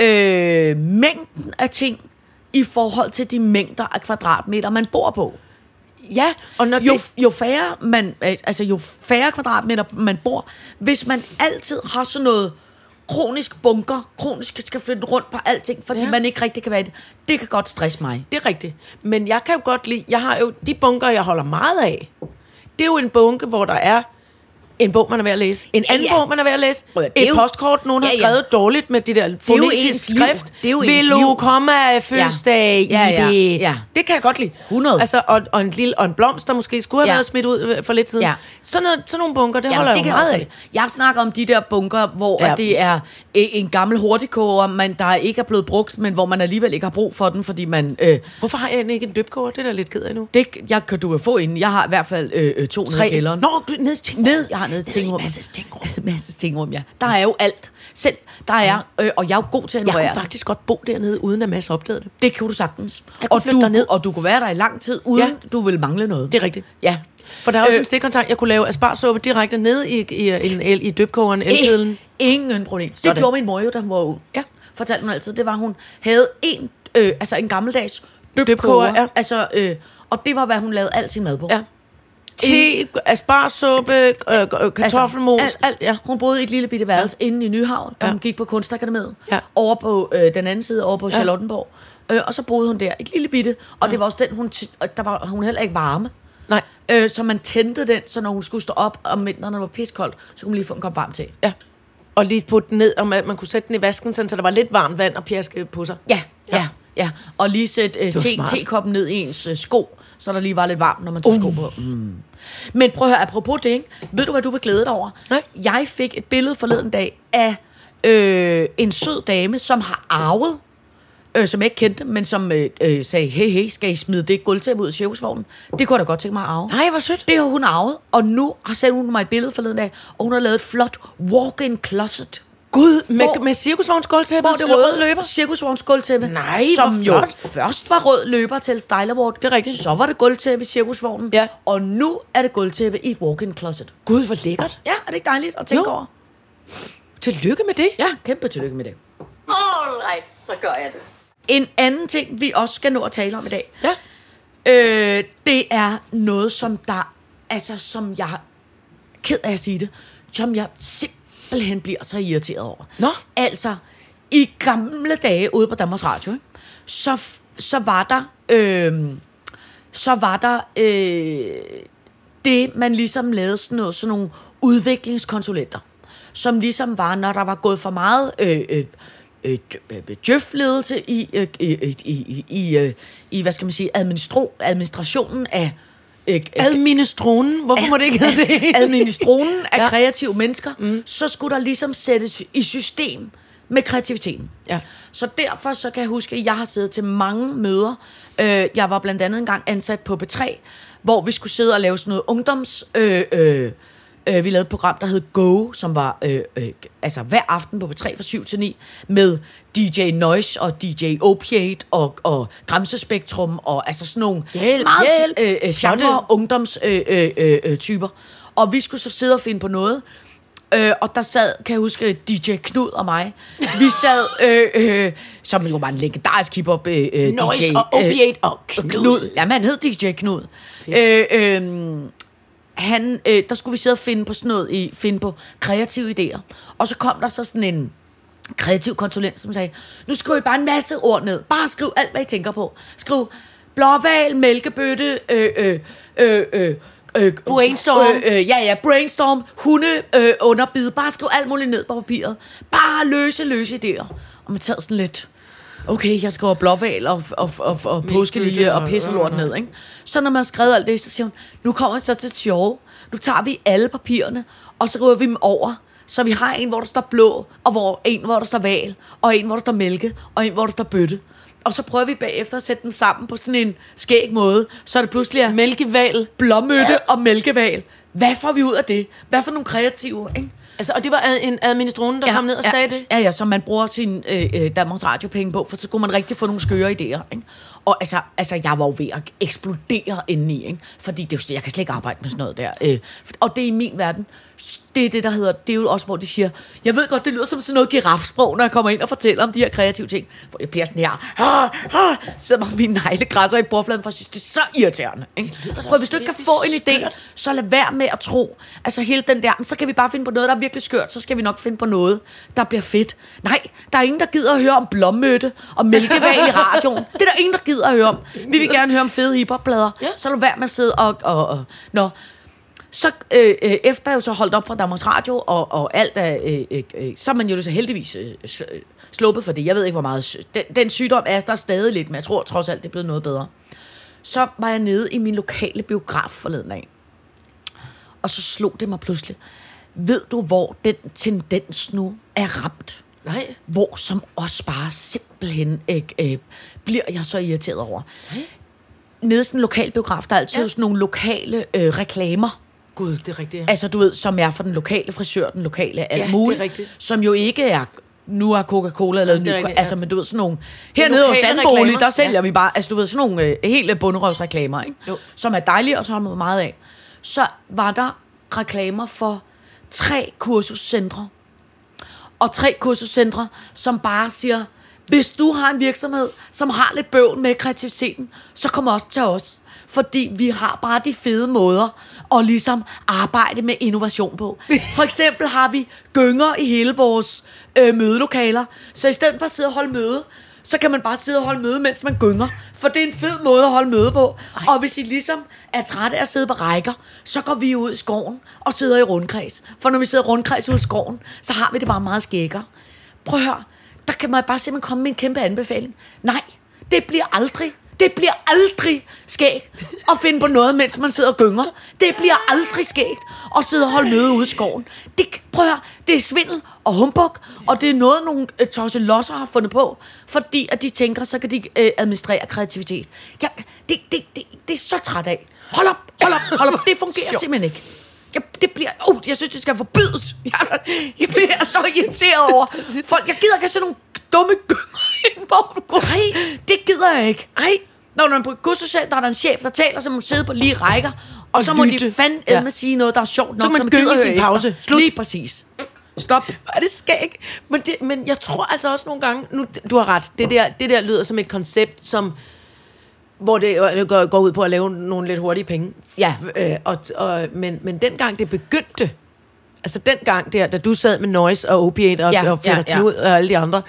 D: øh, mængden af ting i forhold til de mængder af kvadratmeter, man bor på.
C: ja, og når
D: Jo,
C: det,
D: jo, færre man, øh, altså, jo færre kvadratmeter man bor, hvis man altid har sådan noget kronisk bunker, kronisk skal flytte rundt på alting, fordi ja.
C: Ja.
D: man ikke rigtig kan være i det. Det kan godt stresse mig.
C: det er rigtigt. Men jeg kan jo godt lide, jeg har jo de bunker, jeg holder meget af. Det er jo en bunke, hvor der er En bog, man er ved at læse. En anden
D: Ja.
C: bog, man er ved at læse.
D: Prøv at høre, det er
C: Et
D: jo-
C: postkort, nogen har
D: Ja, ja.
C: skrevet dårligt med det der
D: jo ens
C: fonetisk
D: liv.
C: skrift.
D: Det er jo ens
C: Vil du
D: liv.
C: komme fødselsdag
D: Ja. Ja, ja,
C: i det?
D: ja.
C: Det kan jeg godt lide.
D: 100.
C: Altså, og, og, en lille, og en blomst, der måske skulle have
D: Ja.
C: været smidt ud øh, for lidt siden.
D: Ja.
C: Sådan, noget, sådan nogle bunker, det
D: Jamen,
C: holder
D: det
C: jeg
D: kan
C: jo meget
D: også
C: af.
D: godt lide. Jeg snakker om de der bunker, hvor
C: Ja.
D: ja. det er øh, en gammel hurtigkoger, man der ikke er blevet brugt, men hvor man alligevel ikke har brug for den, fordi man... Øh,
C: Hvorfor har jeg egentlig ikke en døbkort? Det er da lidt ked af nu.
D: det jeg, kan du jo få inden. Jeg har i hvert fald øh, øh, to nede i kælderen.
C: Nå, gud, ned i tingrum.
D: Ned, jeg har nede i tingrum.
C: Masses tingrum.
D: [LAUGHS] Masses tingrum, ja. Der er jo alt. Selv der er, øh, og jeg er jo god til at
C: Jeg
D: ignorere.
C: kunne faktisk godt bo dernede, uden at masse opdagede det.
D: Det kan du sagtens.
C: Jeg kunne
D: Og
C: flytte
D: du,
C: derned.
D: og du kunne være der i lang tid, uden ja. du vil mangle noget.
C: Det er rigtigt.
D: Ja.
C: For der er også øh,
D: Øh.
C: en stikkontakt. Jeg kunne lave asparsuppe direkte ned i, i, i, en el, i døbkogeren, elkedlen.
D: Ingen problem. Det
C: Sådan.
D: gjorde min mor jo, da hun var ung.
C: Ja.
D: Fortalte hun altid. Det var, hun havde en, øh, altså en gammeldags
C: Døbkoger,
D: døbkoger.
C: ja.
D: Altså, øh, og det var, hvad hun lavede alt sin mad på.
C: Ja. Te, asparsuppe, øh, øh, kartoffelmos,
D: alt, alt, ja. Altså, Hun boede i et lille bitte værelse ja. inde i Nyhavn, ja. og hun gik på Kunstakademiet,
C: Ja.
D: over på øh, den anden side, over på ja. Charlottenborg. Øh, og så boede hun der, et lille bitte, og ja. det var også den, hun, ti- og der var hun heller ikke varme.
C: Nej.
D: Øh, så man tændte den, så når hun skulle stå op om vinteren, når det var piskoldt, så kunne man lige få en kop varm te.
C: Ja. Og lige putte den ned, og man, man kunne sætte den i vasken, sådan, så der var lidt varmt vand og pjaske på sig.
D: Ja, ja, ja. Og lige sætte øh,
C: var
D: te,
C: smart.
D: tekoppen ned i ens øh, sko, så der lige var lidt varmt, når man tog uh. sko på. Mm. Men prøv at høre, apropos det, ikke? ved du, hvad du vil glæde dig over?
C: Nej.
D: Jeg fik et billede forleden dag af øh, en sød dame, som har arvet, øh, som jeg ikke kendte, men som øh, øh, sagde, hey, hey, skal I smide det gulvtæppe ud i cirkusvognen? Det kunne jeg da godt tænke mig at arve.
C: Nej, hvor sødt.
D: Det har hun arvet, og nu har sendt hun mig et billede forleden dag, og hun har lavet et flot walk-in closet. Gud,
C: Med, med cirkusvognsgulvtæppet,
D: hvor det røde løber.
C: løber.
D: Cirkusvogns gulvtæppe.
C: Nej,
D: Som
C: hvor
D: jo
C: flot.
D: først var rød løber til Style Award. Det
C: er rigtigt.
D: Så var det gulvtæppe i cirkusvognen.
C: Ja.
D: Og nu er det gulvtæppe i et walk-in closet.
C: Gud, hvor lækkert.
D: Ja, er det ikke dejligt at tænke
C: Jo.
D: over?
C: Tillykke med det.
D: Ja, kæmpe tillykke med det.
B: Alright, så gør jeg det.
D: En anden ting, vi også skal nå at tale om i dag,
C: ja.
D: øh, det er noget, som der, altså som jeg er ked af at sige det, som jeg simpelthen bliver så irriteret over.
C: Nå.
D: Altså, i gamle dage ude på Danmarks Radio, ikke? Så, f- så var der, øh, så var der øh, det, man ligesom lavede sådan, noget, sådan nogle udviklingskonsulenter, som ligesom var, når der var gået for meget øh, øh, øh, dj- øh, djøfledelse i, øh, øh, øh, i, i, i, øh, i, hvad skal man sige, administro, administrationen af øh, øh,
C: Administronen. Hvorfor må det ikke hedde det?
D: [LAUGHS] administronen af
C: Ja.
D: ja. kreative mennesker, mm. så skulle der ligesom sættes i system med kreativiteten.
C: Ja.
D: Så derfor så kan jeg huske, at jeg har siddet til mange møder. Øh, jeg var blandt andet engang ansat på B3, hvor vi skulle sidde og lave sådan noget ungdoms... Øh, øh, øh, vi lavede et program, der hed Go, som var øh, øh, altså hver aften på B3 fra 7 til 9, med DJ Noise og DJ Opiate og, og Gramsespektrum og altså sådan nogle
C: Hjælp,
D: meget
C: hjælp.
D: Øh, øh,
C: Shout
D: genre
C: it.
D: ungdomstyper. Øh, øh, øh, typer. og vi skulle så sidde og finde på noget. Øh, og der sad, kan jeg huske, DJ Knud og mig. Vi sad, øh, øh, som jo var en legendarisk hiphop øh, øh,
C: Noise
D: DJ.
C: og
D: øh,
C: opiate og knud.
D: Knud. Ja, man hed DJ Knud. Øh, øh, han, øh, der skulle vi sidde og finde på sådan noget, i, finde på kreative idéer. Og så kom der så sådan en kreativ konsulent, som sagde, nu skriv I bare en masse ord ned. Bare skriv alt, hvad I tænker på. Skriv blåval, mælkebøtte, øh, øh, øh, øh, øh,
C: Brainstorm.
D: Øh, øh, ja, ja, brainstorm, hunde, øh, underbid. Bare skriv alt muligt ned på papiret. Bare løse, løse idéer. Og man tager sådan lidt, okay, jeg skriver blåval og, og, og, og påskelilje og
C: og-
D: pisselort ned, ikke? Så når man har skrevet alt det, så siger hun, nu kommer jeg så til det sjove. Nu tager vi alle papirerne, og så river vi dem over. Så vi har en, hvor der står blå, og hvor, en, hvor der står val, og en, hvor der står mælke, og en, hvor der står bøtte. Og så prøver vi bagefter at sætte dem sammen på sådan en skæg måde, så det pludselig er
C: Mælkeval.
D: blåmøtte og mælkeval. Hvad får vi ud af det? Hvad for nogle kreative, ikke?
C: Altså, og det var ad- en administrone, der kom ned og
D: ja,
C: sagde det.
D: Ja, ja, som man bruger sin øh, øh, Danmarks Radio-penge på, for så kunne man rigtig få nogle skøre idéer. Ikke? Og altså, altså, jeg var jo ved at eksplodere indeni, ikke? fordi det, er jo slet- jeg kan slet ikke arbejde med sådan noget der. Øh, og det er i min verden, s- det er det, der hedder, det er jo også, hvor de siger, jeg ved godt, det lyder som sådan noget girafsprog, når jeg kommer ind og fortæller om de her kreative ting, hvor jeg bliver sådan her, ha, ha, Ah, sidder med mine negle græsser i bordfladen, for jeg synes, det er så irriterende. Ikke? Prøv, hvis du ikke kan få en idé,
C: skørt.
D: så lad være med at tro, altså hele den der, "Men så kan vi bare finde på noget, der er virkelig skørt, så skal vi nok finde på noget, der bliver fedt. Nej, der er ingen, der gider at høre om blommøtte og mælkeval i radioen. Det er der ingen, der gider at høre om. Vi vil gerne høre om fede hiphopplader.
C: Ja.
D: Så lad være med at sidde og... og, og. Nå. Så øh, øh, efter jeg jo så holdt op fra Danmarks Radio og, og alt er, øh, øh, øh, så er man jo så heldigvis øh, s- øh, sluppet for det. Jeg ved ikke, hvor meget... sy- Den, den sygdom er der stadig lidt, men jeg tror trods alt, det er blevet noget bedre. Så var jeg nede i min lokale biograf forleden af. Og så slog det mig pludselig. Ved du, hvor den tendens nu er ramt?
C: Nej.
D: Hvor som også bare simpelthen øh, øh, bliver jeg så irriteret over. Nede i sådan en lokal biograf, der er altid
C: Ja.
D: ja. sådan nogle lokale øh, reklamer.
C: Gud, det er rigtigt. Ja.
D: Altså, du ved, som er for den lokale frisør, den lokale alt
C: Ja, det er
D: muligt.
C: rigtigt.
D: Som jo ikke er nu har Coca-Cola lavet
C: det er
D: ny,
C: rigtigt, ja.
D: altså, men du ved, sådan nogle, hernede hos
C: lokale
D: Danbolig,
C: reklamer.
D: der sælger
C: Ja.
D: vi bare, altså du ved, sådan nogle øh, hele bunderøvsreklamer, ikke?
C: Jo.
D: Som er dejlige og som er meget af. Så var der reklamer for tre kursuscentre. Og tre kursuscentre, som bare siger, hvis du har en virksomhed, som har lidt bøvl med kreativiteten, så kom også til os. Fordi vi har bare de fede måder at ligesom arbejde med innovation på. For eksempel har vi gynger i hele vores øh, mødelokaler. Så i stedet for at sidde og holde møde, så kan man bare sidde og holde møde, mens man gynger. For det er en fed måde at holde møde på. Ej. Og hvis I ligesom er trætte af at sidde på rækker, så går vi ud i skoven og sidder i rundkreds. For når vi sidder i rundkreds ude i skoven, så har vi det bare meget skækker. Prøv at høre, der kan man bare simpelthen komme med en kæmpe anbefaling. Nej, det bliver aldrig det bliver aldrig skægt at finde på noget, mens man sidder og gynger. Det bliver aldrig skægt at sidde og holde møde ude i skoven. Det, prøv at høre, det er svindel og humbug, og det er noget, nogle øh, tosselosser har fundet på, fordi at de tænker, så kan de øh, administrere kreativitet. Ja, det, det, det, det er så træt af. Hold op, hold op, hold op. Det fungerer simpelthen ikke. Jeg, det bliver, uh, jeg synes, det skal forbydes. [LAUGHS] Jeg, jeg bliver så irriteret over folk. Jeg gider ikke have sådan nogle dumme gynger [LAUGHS] ind på kursus. Det gider jeg ikke. Nej. Når man er på et kursuscenter, der er der en chef, der taler, så må man sidde på lige rækker. Og, og så må
C: lytte.
D: de fandme ja.
C: Ja.
D: sige noget, der er sjovt nok,
C: kan man
D: som gider
C: gynge i
D: høre
C: sin
D: efter.
C: pause. Slut.
D: Lige præcis.
C: Stop. Er det skæg? Men, det, men jeg tror altså også nogle gange, nu, du har ret, det der, det der lyder som et koncept, som hvor det øh, går, går ud på at lave nogle lidt hurtige penge.
D: Ja.
C: Øh, og, og, men, men dengang det begyndte, altså dengang der, da du sad med Noise og OP8 og, ja, og Fætter ja, ja. Knud og alle de andre,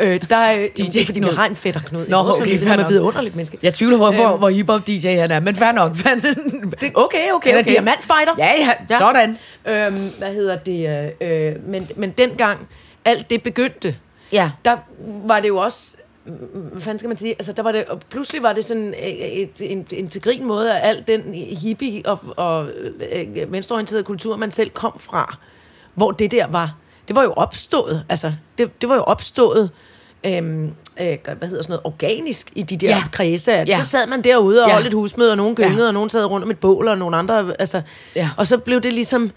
C: øh, der øh, det er fordi vi
D: Knud.
C: har en Fætter Knud. i
D: Nå,
C: vores
D: okay,
C: familie,
D: fair
C: som er
D: nok.
C: vidunderligt menneske.
D: Jeg tvivler på, hvor, hvor hiphop DJ han er, men fair nok. [LAUGHS] okay, Øhm. okay, okay.
C: Eller diamantspejder.
D: Ja, ja, sådan.
C: Øhm, hvad hedder det? Øh, øh, men, men dengang alt det begyndte,
D: Ja.
C: der var det jo også mm, hvad fanden skal man sige? Altså, der var det, og pludselig var det sådan øh, et, en, en til grin måde af al den hippie og, og øh, venstreorienterede kultur, man selv kom fra, hvor det der var, det var jo opstået, altså, det, det var jo opstået, øhm, øh, hvad hedder sådan noget, organisk i de der ja.
D: Ja.
C: kredse. At ja.
D: Ja.
C: Så sad man derude og ja.
D: Ja.
C: holdt et husmøde, og nogen gyngede, ja.
D: Ja.
C: og nogen sad rundt om et bål, og nogle andre, altså,
D: Ja.
C: og så blev det ligesom,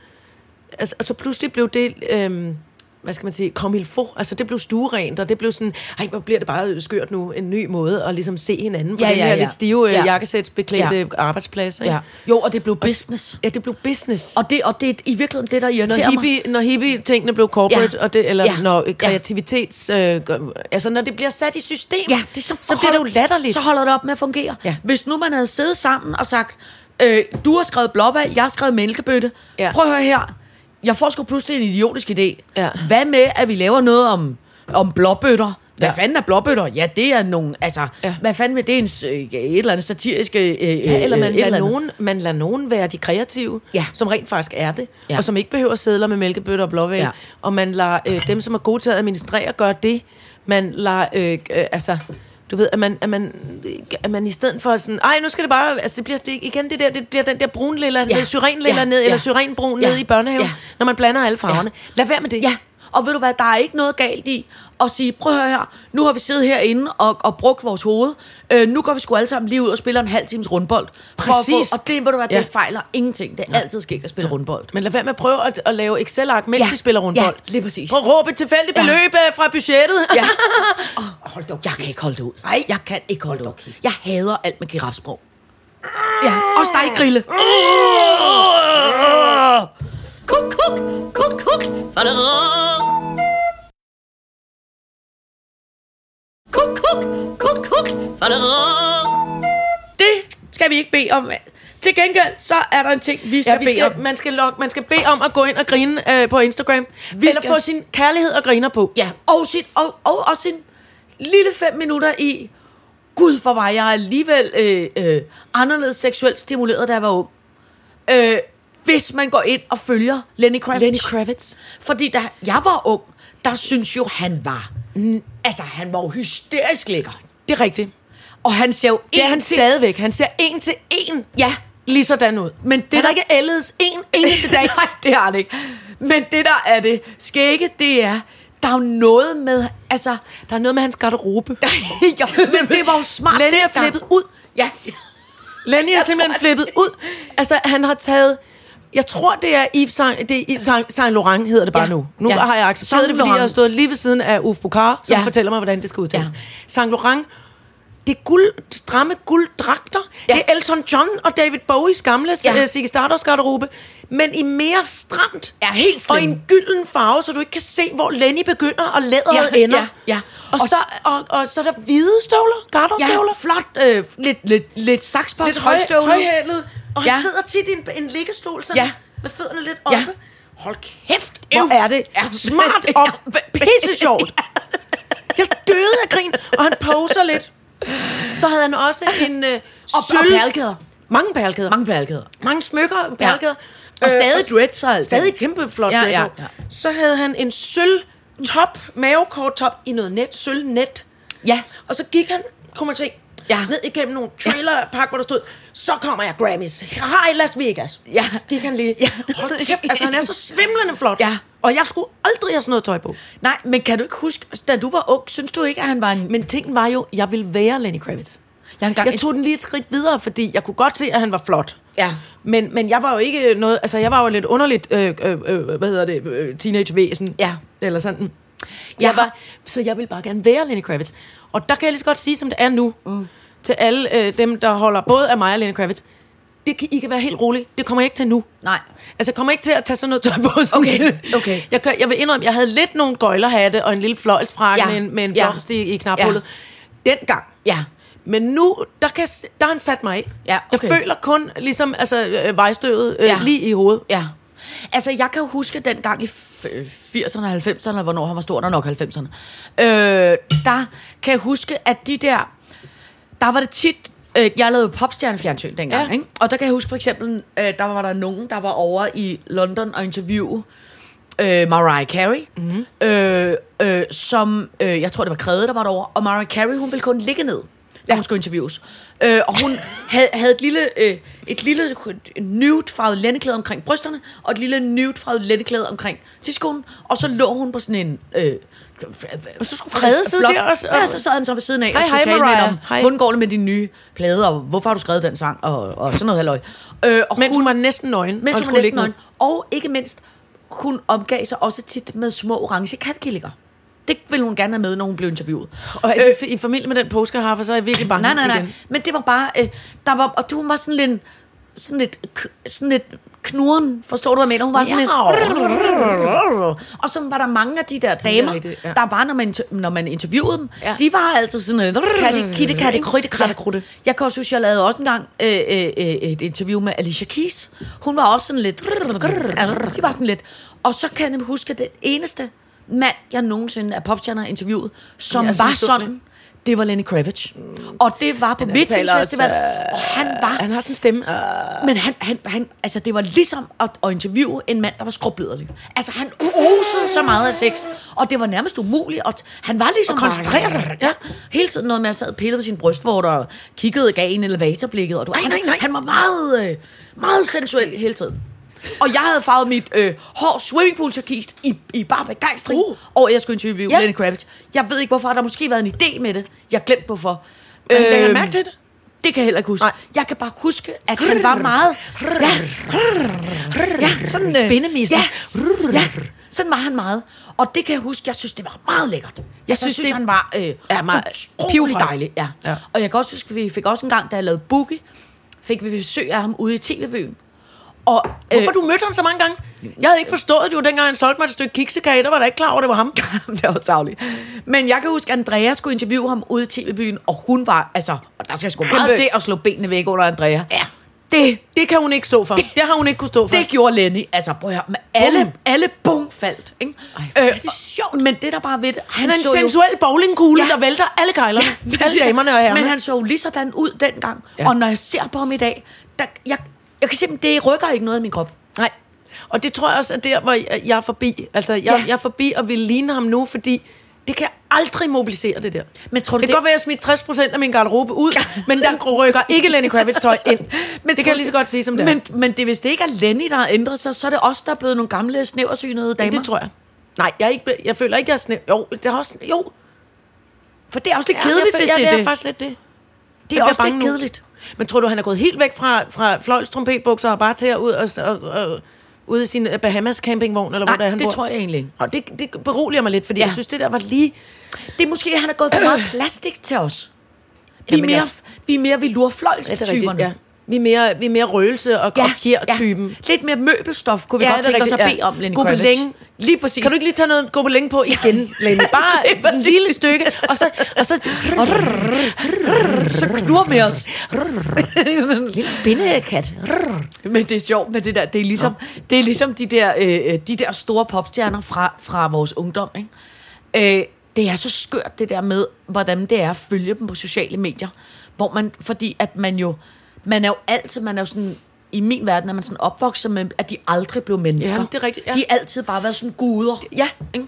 C: altså, og så pludselig blev det, øhm, hvad skal man sige, kom få, altså det blev stuerent, og det blev sådan, ej, hvor bliver det bare skørt nu, en ny måde at ligesom se hinanden på ja,
D: Ja,
C: den
D: ja,
C: her ja.
D: ja.
C: lidt stive ja.
D: Ja.
C: jakkesætsbeklædte ja.
D: Ja.
C: arbejdsplads, ikke?
D: ja.
C: Ja.
D: Jo, og det blev business.
C: ja, det blev business. Og
D: Og det, og det er i virkeligheden det, der irriterer
C: når,
D: mig.
C: hippie, når hippie-tingene blev corporate, ja.
D: Ja.
C: og det, eller ja.
D: Ja.
C: når
D: Ja.
C: kreativitets... Øh, gør- altså, når det bliver sat i system,
D: Ja, det er så,
C: så bliver det jo latterligt.
D: Så holder det op med at fungere.
C: Ja.
D: Hvis nu man havde siddet sammen og sagt, øh, du har skrevet blåbær, jeg har skrevet mælkebøtte.
C: Ja.
D: Ja. Prøv at høre her. Jeg får sgu pludselig en idiotisk idé.
C: Ja.
D: Hvad med, at vi laver noget om, om blåbøtter? Hvad
C: Ja.
D: ja. fanden er blåbøtter? Ja, det er nogen... Altså,
C: Ja.
D: ja. hvad fanden med det? Er en, s- øh, et eller andet satirisk... Øh, ja,
C: Ja, eller man,
D: et eller
C: lader
D: andet.
C: nogen, man lader nogen være de kreative,
D: Ja.
C: som rent faktisk er det, ja.
D: Ja.
C: og som ikke behøver sædler med mælkebøtter og blåval, ja.
D: Ja.
C: og man lader øh, dem, som er gode til at administrere, gøre det. Man lader, øh, øh, altså, du ved, at man, at man, at man i stedet for sådan, ej, nu skal det bare, altså det bliver det, igen det der, det bliver den der brunlilla, ja.
D: Ja.
C: ned, syrenlilla
D: Ja.
C: ned,
D: Ja.
C: eller syrenbrun
D: Ja.
C: ned i børnehaven, ja.
D: Ja.
C: når man blander alle farverne. Ja. Lad være med det.
D: Ja, og ved du hvad, der er ikke noget galt i at sige, prøv at høre her, nu har vi siddet herinde og, og brugt vores hoved, øh, nu går vi sgu alle sammen lige ud og spiller en halv times rundbold. For at
C: Præcis.
D: Få, og det, ved du hvad, det
C: Ja.
D: fejler ingenting. Det er altid skægt at spille rundbold.
C: Men lad være med at prøve at, at lave Excel-ark, mens
D: Ja.
C: I spiller rundt
D: Ja,
C: bold.
D: lige præcis.
C: Prøv at råbe et tilfældigt
D: Ja.
C: beløb øh, fra budgettet. [LAUGHS]
D: Ja. oh, hold da op. Jeg kan ikke holde det ud. Nej. Jeg kan ikke holde det ud. Jeg hader alt med girafsprog. Ja, også dig, Grille.
B: Kuk, kuk, kuk, kuk. Faderor. Kuk, kuk, kuk, kuk. Faderor.
D: Det skal vi ikke bede om. Til gengæld, så er der en ting, vi skal,
C: Ja, vi skal, man, skal log, man skal bede om at gå ind og grine øh, på Instagram. Vi eller skal...
D: skal-
C: få sin kærlighed og griner på.
D: Ja, og, sit, og, og, og sin lille fem minutter i, gud for var jeg alligevel øh, øh, anderledes seksuelt stimuleret, da jeg var ung. Øh, hvis man går ind og følger Lenny Kravitz.
C: Lenny Kravitz.
D: Fordi da jeg var ung, der synes jo, han var... Mm, altså, han var jo hysterisk lækker.
C: Det er rigtigt.
D: Og han ser jo
C: Det er
D: en
C: han
D: til-
C: stadigvæk. Han ser en til en
D: Ja,
C: lige sådan ud. Men det
D: Han
C: er
D: er
C: der ikke ældes en eneste [LAUGHS] dag.
D: Nej, det har han ikke. Men det, der er det skægge, det er, der er jo noget med, altså...
C: Der er noget med hans [LAUGHS] garderobe.
D: [LAUGHS] ja, men det var jo smart.
C: Lenny er
D: dengang.
C: flippet ud.
D: Ja,
C: Lenny er
D: Jeg
C: simpelthen
D: tror,
C: flippet ud. Altså, han har taget... Jeg tror, det er Yves Saint, det er Yves Saint, Saint Laurent, hedder det bare
D: Ja.
C: ja. nu. Nu
D: Ja.
C: ja. har jeg accepteret
D: Saint
C: det, fordi
D: Laurent.
C: jeg har stået lige ved siden af Uffe Bukar, som
D: Ja.
C: ja. fortæller mig, hvordan det skal udtales.
D: Ja.
C: Ja. Saint Laurent, det er guld, stramme gulddragter.
D: Ja.
C: Ja. Det er Elton John og David Bowies gamle
D: Ja.
C: ja. Sigge Stardust garderobe, men i mere stramt.
D: Ja, helt
C: Og
D: slemme.
C: i en gylden farve, så du ikke kan se, hvor Lenny begynder og læderet
D: Ja,
C: ender.
D: ja, ja.
C: Og,
D: Og
C: og, så, og, og så er der hvide støvler, garderstøvler.
D: ja flot, øh, lidt, lidt, lidt saksbom,
C: Lidt høj- højhælet.
D: Og
C: Ja.
D: han sidder tit i en, en liggestol, sådan,
C: Ja.
D: med fødderne lidt
C: Ja.
D: oppe. Hold kæft,
C: Hvor
D: Ev.
C: er det
D: [LAUGHS] Ja.
C: smart og pisse sjovt. Jeg døde af grin, og han poser lidt. Så havde han også en øh,
D: Og, og perlekæder.
C: Mange perlekæder.
D: [LAUGHS] Mange perlekæder.
C: Mange smykker og perlekæder.
D: Og stadig dreads og alting.
C: Stadig kæmpe flot
D: Ja,
C: dread.
D: ja,
C: jo.
D: ja.
C: Så havde han en sølv top, mavekort top i noget net, sølv net.
D: Ja.
C: Og så gik han, kunne man se,
D: Ja.
C: ja. ned igennem nogle trailerpark, hvor der stod, så kommer jeg Grammys. Hej Las Vegas.
D: Ja.
C: Gik han lige. Ja. Hold kæft, altså han er så svimlende flot.
D: Ja.
C: Og jeg skulle aldrig have sådan noget tøj på.
D: Nej, men kan du ikke huske, da du var ung, synes du ikke, at han var en...
C: Men tingen var jo, jeg ville være Lenny Kravitz.
D: Jeg, engang,
C: Jeg tog den lige et skridt videre, fordi jeg kunne godt se, at han var flot.
D: Ja.
C: Men, men jeg var jo ikke noget, altså jeg var jo lidt underligt, øh, øh, øh, hvad hedder det, øh, teenagevæsen.
D: Ja.
C: Eller sådan. Jeg
D: har-
C: var, så jeg ville bare gerne være Lenny Kravitz. Og der kan jeg lige så godt sige, som det er nu, mm. til alle øh, dem, der holder både af mig og Lenny Kravitz. Det kan, I kan være helt rolig. Det kommer jeg ikke til nu.
D: Nej.
C: Altså, jeg kommer ikke til at tage sådan noget tøj på. Som
D: Okay, okay.
C: Jeg, kan, jeg vil indrømme, jeg havde lidt nogle gøjlerhatte og en lille fløjlsfrakke
D: Ja,
C: ja. med en, med en
D: ja.
C: blomst i, i knaphullet. Ja. Dengang.
D: Ja.
C: Men nu, der, kan, der har han sat mig af.
D: Ja, okay.
C: Jeg føler kun ligesom, altså, øh, vejstøvet øh,
D: Ja.
C: ja. lige i hovedet.
D: Ja. Altså, jeg kan jo huske dengang i f- 80'erne og 90'erne, eller hvornår han var stor, der nok 90'erne, øh, der kan jeg huske, at de der, der var det tit, øh, jeg lavede popstjernefjernsyn dengang, ja.
C: Ja.
D: ikke? og der kan jeg huske for eksempel, øh, der var der nogen, der var over i London og interviewe øh, Mariah Carey,
C: Mhm.
D: mm-hmm. øh, øh, som, øh, jeg tror det var Kræde, der var derovre, og Mariah Carey, hun ville kun ligge ned, da ja. hun skulle interviews. Øh, og hun [LAUGHS] havde, havde et lille, øh, et lille nude farvet lændeklæde omkring brysterne, og et lille nude farvet lændeklæde omkring tidskonen, og så lå hun på sådan en... Øh, og så skulle
C: Frede sidde der også, og-
D: Ja, så sad han så ved siden af
C: Hej,
D: og skulle
C: hej,
D: tale med
C: Mariah.
D: hende om,
C: Hej.
D: hvordan går det med dine nye plader, og hvorfor har du skrevet den sang, og, og sådan noget halløj. Øh, og
C: Mens hun var næsten nøgen.
D: mens
C: og
D: hun var
C: skulle
D: næsten
C: ligge ned.
D: nøgen. Og ikke mindst, hun omgav sig også tit med små orange katkillinger. Det ville hun gerne have med, når hun blev interviewet.
C: Og er øh, i familie med den påskehaffer, så er jeg virkelig bange
D: Nej, nej, nej.
C: igen.
D: Men det var bare... Øh, der var, og hun var sådan lidt... Sådan lidt, k- sådan lidt knuren, forstår du, hvad jeg mener? Hun var sådan lidt... Og så var der mange af de der damer,
C: rigtigt, ja.
D: der var, når man, inter- når man interviewede dem.
C: Ja.
D: De var altså sådan lidt... Katte, kitte, katte, krytte, kratte, krutte. Jeg kan også huske, jeg lavede også engang øh, øh, øh, et interview med Alicia Keys. Hun var også sådan lidt... De var sådan lidt... Og så kan jeg huske, at den eneste mand, jeg nogensinde er popstjerner har interviewet, som
C: Ja,
D: var
C: sådan så-
D: sådan, det var Lenny Kravitz. Og det var på Midtfyns
C: taler
D: Festival.
C: også, øh,
D: Og han var...
C: Han har sådan en stemme. Øh.
D: Men han, han, han, altså det var ligesom at, at interviewe en mand, der var skrubbederlig. Altså han osede så meget af sex, og det var nærmest umuligt, og t- han var ligesom...
C: Og koncentrere sig.
D: Ja, hele tiden noget med, at han sad og pillede på sin brystvorter og kiggede, gav en elevatorblikket, og du, han,
C: nej, nej.
D: han var meget, øh, meget sensuel hele tiden. Og jeg havde farvet mit øh, hår swimmingpool turkist i, i bare begejstring
C: Uh.
D: over, at jeg skulle interviewe ja.
C: Ja.
D: Lenny Kravitz. Jeg ved ikke, hvorfor. Der har måske været en idé med det. Jeg glemte hvorfor.
C: Lagde han
D: Øhm,
C: mærke til det?
D: det kan jeg heller ikke huske. Nej.
C: Nej.
D: Jeg kan bare huske, at han var meget... Ja,
C: [LAUGHS]
D: ja sådan... øh,
C: Spindemisen.
D: Ja, ja, sådan var han meget. Og det kan jeg huske, jeg synes, det var meget lækkert. Jeg, jeg synes,
C: synes,
D: synes
C: det
D: han var øh,
C: er meget
D: utrolig
C: pivfræk.
D: dejlig. Ja. ja.
C: Ja.
D: Og jeg kan også huske, at vi fik også en gang, da jeg lavede Boogie, fik vi besøg af ham ude i TV-byen. Og, øh,
C: Hvorfor du mødte ham så mange gange? Jeg havde ikke forstået det jo, dengang han solgte mig et stykke kiksekage, der var der ikke klar over, det var [LAUGHS] ham.
D: [LAUGHS] det var savligt. Men jeg kan huske, at Andrea skulle interviewe ham ude i TV-byen, og hun var, altså, og der skal sgu meget
C: Kæmpe-
D: til at slå benene væk under Andrea.
C: Ja. Det, det kan hun ikke stå for. Det, det har hun ikke kunne stå for.
D: Det gjorde Lenny. Altså, prøv at høre, men alle,
C: Bum.
D: alle bum faldt. Ikke? Øh,
C: Ej, hvor er det
D: og- sjovt. Men det, der bare ved det,
C: han er en
D: så jo-
C: sensuel bowlingkugle,
D: Ja.
C: der vælter alle kejlerne.
D: Ja,
C: alle damerne og herrerne.
D: Men han så jo lige sådan ud dengang. Ja.
C: Ja.
D: Og når jeg ser på ham i dag, der, jeg, jeg kan simpelthen, det rykker ikke noget i min krop.
C: Nej. Og det tror jeg også er der, hvor jeg- jeg er forbi. Altså, jeg, ja.
D: Ja.
C: jeg er forbi og vil ligne ham nu, fordi det kan jeg aldrig mobilisere, det der.
D: Men tror du,
C: det kan
D: det-
C: godt være, at jeg smidt 60 af min garderobe ud, men [LAUGHS] der rykker ikke Lenny Kravitz tøj ind. [LAUGHS] men det kan jeg lige så godt sige som det er.
D: Men, men det, hvis det ikke er Lenny, der har ændret sig, så er det os, der er blevet nogle gamle, snæversynede damer.
C: det tror jeg. Nej, jeg, er ikke, ble- jeg føler ikke, jeg er sne... Jo, det er også... Jo. For det er også lidt
D: Ja,
C: kedeligt,
D: jeg føl-
C: jeg, hvis
D: ja,
C: det
D: det
C: er
D: er
C: det. faktisk lidt det.
D: det er også lidt kedeligt.
C: Men tror du, han er gået helt væk fra, fra fløjlstrumpetbukser og bare til at ud og, og, og, ude i sin øh, Bahamas campingvogn, eller hvor
D: Nej,
C: der han
D: det
C: bor?
D: tror jeg egentlig ikke.
C: Og det, det beroliger mig lidt, fordi ja. jeg synes, det der var lige...
D: Det er måske, at han er gået for
C: [CLEARS THROAT]
D: meget plastik til os. Vi er
C: Jamen, ja.
D: mere, vi er mere vilurfløjlstyperne.
C: Ja. Vi er mere, vi er mere røgelse og, ja. og fjer-typen. Ja.
D: Lidt mere møbelstof, kunne vi ja, godt tænke os at bede om, Lenny Kravitz.
C: Gobeling. Lige præcis. Kan du ikke lige tage noget gobeling på igen, [LAUGHS] Lenny? Bare et lille stykke, og så... Og så, og så knur med os. [LAUGHS]
D: [LAUGHS] Lille spindekat.
C: Men det er sjovt.
D: sjovt med det der. Det er ligesom, det er ligesom de, der, øh, øh, de der store popstjerner fra, fra vores ungdom. Ikke? Øh, det er så skørt det der med, hvordan det er at følge dem på sociale medier. Hvor man, fordi at man jo, man er jo altid, man er jo sådan, i min verden er man sådan opvokset med, at de aldrig blev mennesker.
C: Ja, det er rigtigt, ja.
D: De har altid bare været sådan guder.
C: Ja.
D: Ikke?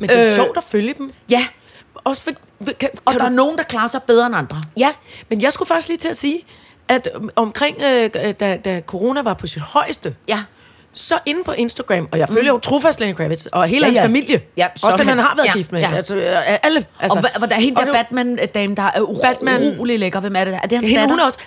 C: Men det er øh.
D: Øh.
C: sjovt at følge dem.
D: Ja,
C: Også for, kan, kan
D: og der
C: du
D: er nogen, der klarer sig bedre end andre.
C: Ja, men jeg skulle faktisk lige til at sige, at øhm, omkring, øh, øh, da, da corona var på sit højeste,
D: Ja.
C: så inde på Instagram, og jeg følger jo trofast Lenny Kravitz, og hele ja,
D: Mm. Ja,
C: hans
D: ja.
C: familie,
D: Ja,
C: også den,
D: sådan.
C: han har været ja,
D: Ja,
C: gift med, ja.
D: ja.
C: altså øh, alle. Altså,
D: Altså, og hva- hvordan er hende
C: og
D: der
C: det-
D: Batman-dame, der er
C: Batman.
D: uro- urolig lækker? Hvem er det? Er det hans
C: Hende,
D: datter?
C: hun er også,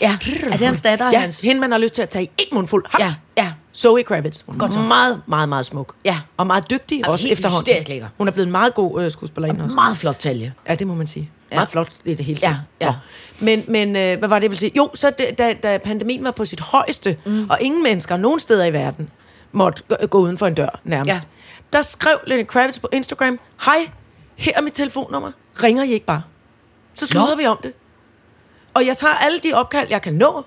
D: Ja, er det hans datter?
C: ja,
D: hans?
C: hende man har lyst til at tage i en mundfuld. Haps.
D: Ja, ja.
C: Zoe Kravitz. Hun er Godt meget, meget, meget smuk.
D: Ja.
C: Og meget dygtig og også
D: helt
C: efterhånden.
D: hysterisk lækker.
C: Hun er blevet en meget god øh, skuespillerinde også.
D: Meget flot talje.
C: Ja, det må man sige. Ja. Meget flot i det hele
D: Ja,
C: taget.
D: ja.
C: Nå. Men, men øh, hvad var det, jeg ville sige? Jo, så det, da, da pandemien var på sit højeste, mm. og ingen mennesker nogen steder i verden måtte gå, gå uden for en dør nærmest, ja.
D: Ja.
C: der skrev Lenny Kravitz på Instagram, hej, her er mit telefonnummer, ringer I ikke bare? Så slutter Nå. vi om det. Og jeg tager alle de opkald, jeg kan nå.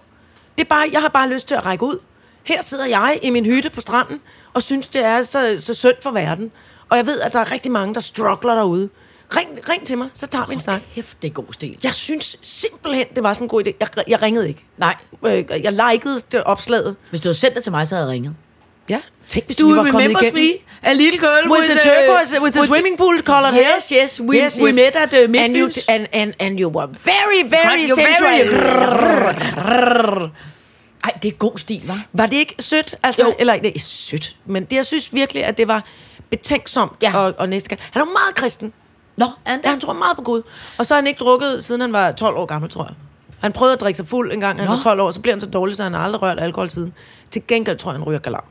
C: Det er bare, jeg har bare lyst til at række ud. Her sidder jeg i min hytte på stranden, og synes, det er så, så synd for verden. Og jeg ved, at der er rigtig mange, der struggler derude. Ring, ring til mig, så tager vi en snak.
D: Kæft, det er god stil.
C: Jeg synes simpelthen, det var sådan en god idé. Jeg, jeg ringede ikke.
D: Nej.
C: Øh, Jeg likede det opslaget.
D: Hvis du havde sendt det til mig, så havde jeg ringet.
C: Ja. Tænk, hvis
D: Do
C: vi
D: you
C: var kommet
D: remember
C: igennem.
D: me? A little girl
C: With, the, turquoise, with the swimming pool colored hair.
D: Yes, yes, we- we met at, uh,
C: and you,
D: Midtfyns.
C: and, and, and you were very, very
D: Correct, you're
C: sensual.
D: Ej, det er god stil, hva'?
C: Var det ikke sødt? Altså,
D: Jo.
C: Eller, det er sødt. Men det, jeg synes virkelig, at det var betænksomt.
D: Ja.
C: Og, og næste gang. Han er jo meget kristen.
D: Nå, and
C: Ja, han tror meget på Gud. Og så har han ikke drukket, siden han var 12 år gammel, tror jeg. Han prøvede at drikke sig fuld en gang, han
D: Nå.
C: var 12 år, så blev han så dårlig, så han har aldrig rørt alkohol siden. Til gengæld tror jeg, han ryger galam.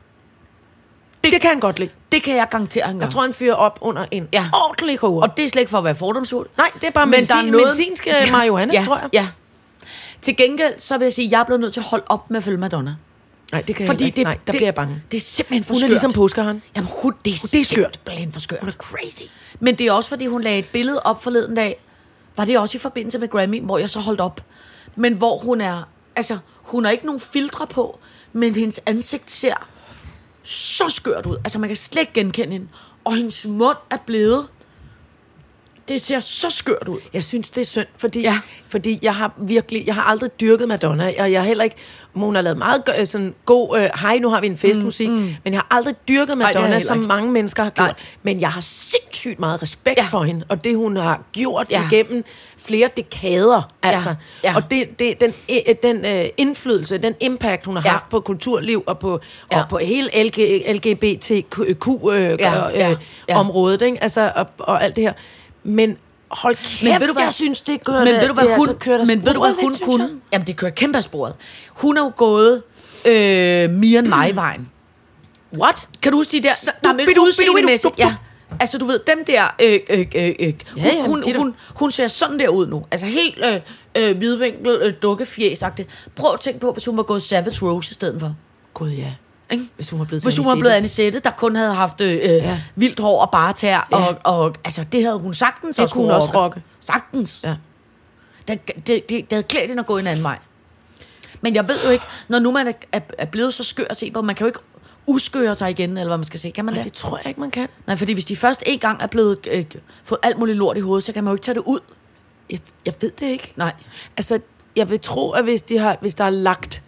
C: Det, det kan han godt lide.
D: det kan jeg garantere, han gør.
C: Jeg tror, han fyrer op under en ja.
D: Ja.
C: ordentlig koger.
D: Og det er slet ikke for at være fordomsfuld.
C: Nej, det er bare medicin, medicinske marihuana,
D: ja,
C: tror jeg.
D: Ja. Til gengæld, så vil jeg sige, at jeg er blevet nødt til at holde op med at følge Madonna.
C: Nej, det kan
D: Fordi
C: jeg ikke.
D: det,
C: Nej, der
D: det,
C: bliver jeg bange.
D: Det er simpelthen for
C: Hun er
D: skørt.
C: ligesom påskehånd.
D: Jamen, hun, det er,
C: det er skørt.
D: simpelthen for skørt. Hun er crazy. Men det er også, fordi hun lagde et billede op forleden dag. Var det også i forbindelse med Grammy, hvor jeg så holdt op? Men hvor hun er... Altså, hun har ikke nogen filtre på, men hendes ansigt ser så skørt ud. Altså, man kan slet ikke genkende hende. Og hendes mund er blevet... Det ser så skørt ud.
C: Jeg synes, det er synd, fordi, ja.
D: Ja.
C: fordi jeg har virkelig, jeg har aldrig dyrket Madonna, og jeg har heller ikke, hun har lavet meget øh, sådan god, øh, hej, nu har vi en festmusik, mm, mm. men jeg har aldrig
D: har
C: dyrket
D: jeg
C: Madonna, Ej,
D: heller
C: som
D: ikke.
C: mange mennesker har gjort, Nej.
D: Nej.
C: men jeg har sindssygt meget respekt ja.
D: Ja.
C: for hende, og det hun har gjort ja.
D: Ja.
C: igennem flere dekader, altså. Ja.
D: Ja.
C: Og det, det, den, øh, den øh, indflydelse, den impact, hun har ja.
D: Ja.
C: haft på kulturliv og på, ja.
D: Ja.
C: og på hele LG, LGBTQ-området, øh,
D: Ja,
C: ja.
D: ja,
C: øh,
D: ja.
C: området, ikke? altså, og, og alt det her. Men hold kæft,
D: Men ved du hvad?
C: jeg synes, det gør
D: Men ved du hvad hun,
C: altså, kører
D: men ved du hvad hun kunne? Jamen det kørte kæmpe af sporet. Hun er jo gået øh, Mia vejen What? Kan du huske de der?
C: Så-
D: der er med
C: Bidu, bidu,
D: udseendemæssigt-
C: bidu, bidu.
D: Ja. Altså du ved, dem der, øh, øh, øh, øh. Hun,
C: Ja, ja,
D: hun,
C: de der-
D: hun, hun ser sådan der ud nu. Altså helt øh, øh, hvidvinkel, øh, dukkefjæsagtigt. Prøv at tænke på, hvis hun var gået Savage Rose i stedet for.
C: Gud ja.
D: Ikke?
C: Hvis hun var blevet til
D: Hvis hun var
C: Anisette.
D: blevet Anisette, der kun havde haft øh, ja. vildt hår og bare tær,
C: Ja.
D: ja. og, og, altså, det havde hun sagtens
C: Det
D: også
C: kunne hun
D: kunne
C: også rocke.
D: Sagtens.
C: Ja.
D: Det, det, det, det havde klædt hende at gå en anden vej. Men jeg ved jo ikke, når nu man er, er, er blevet så skør at se på, man kan jo ikke uskøre sig igen, eller hvad man skal sige. Kan man
C: Nej,
D: det?
C: det tror jeg ikke, man kan.
D: Nej, fordi hvis de først en gang er blevet øh, fået alt muligt lort i hovedet, så kan man jo ikke tage det ud.
C: Jeg, jeg ved det ikke.
D: Nej.
C: Altså, jeg vil tro, at hvis, de har, hvis der er lagt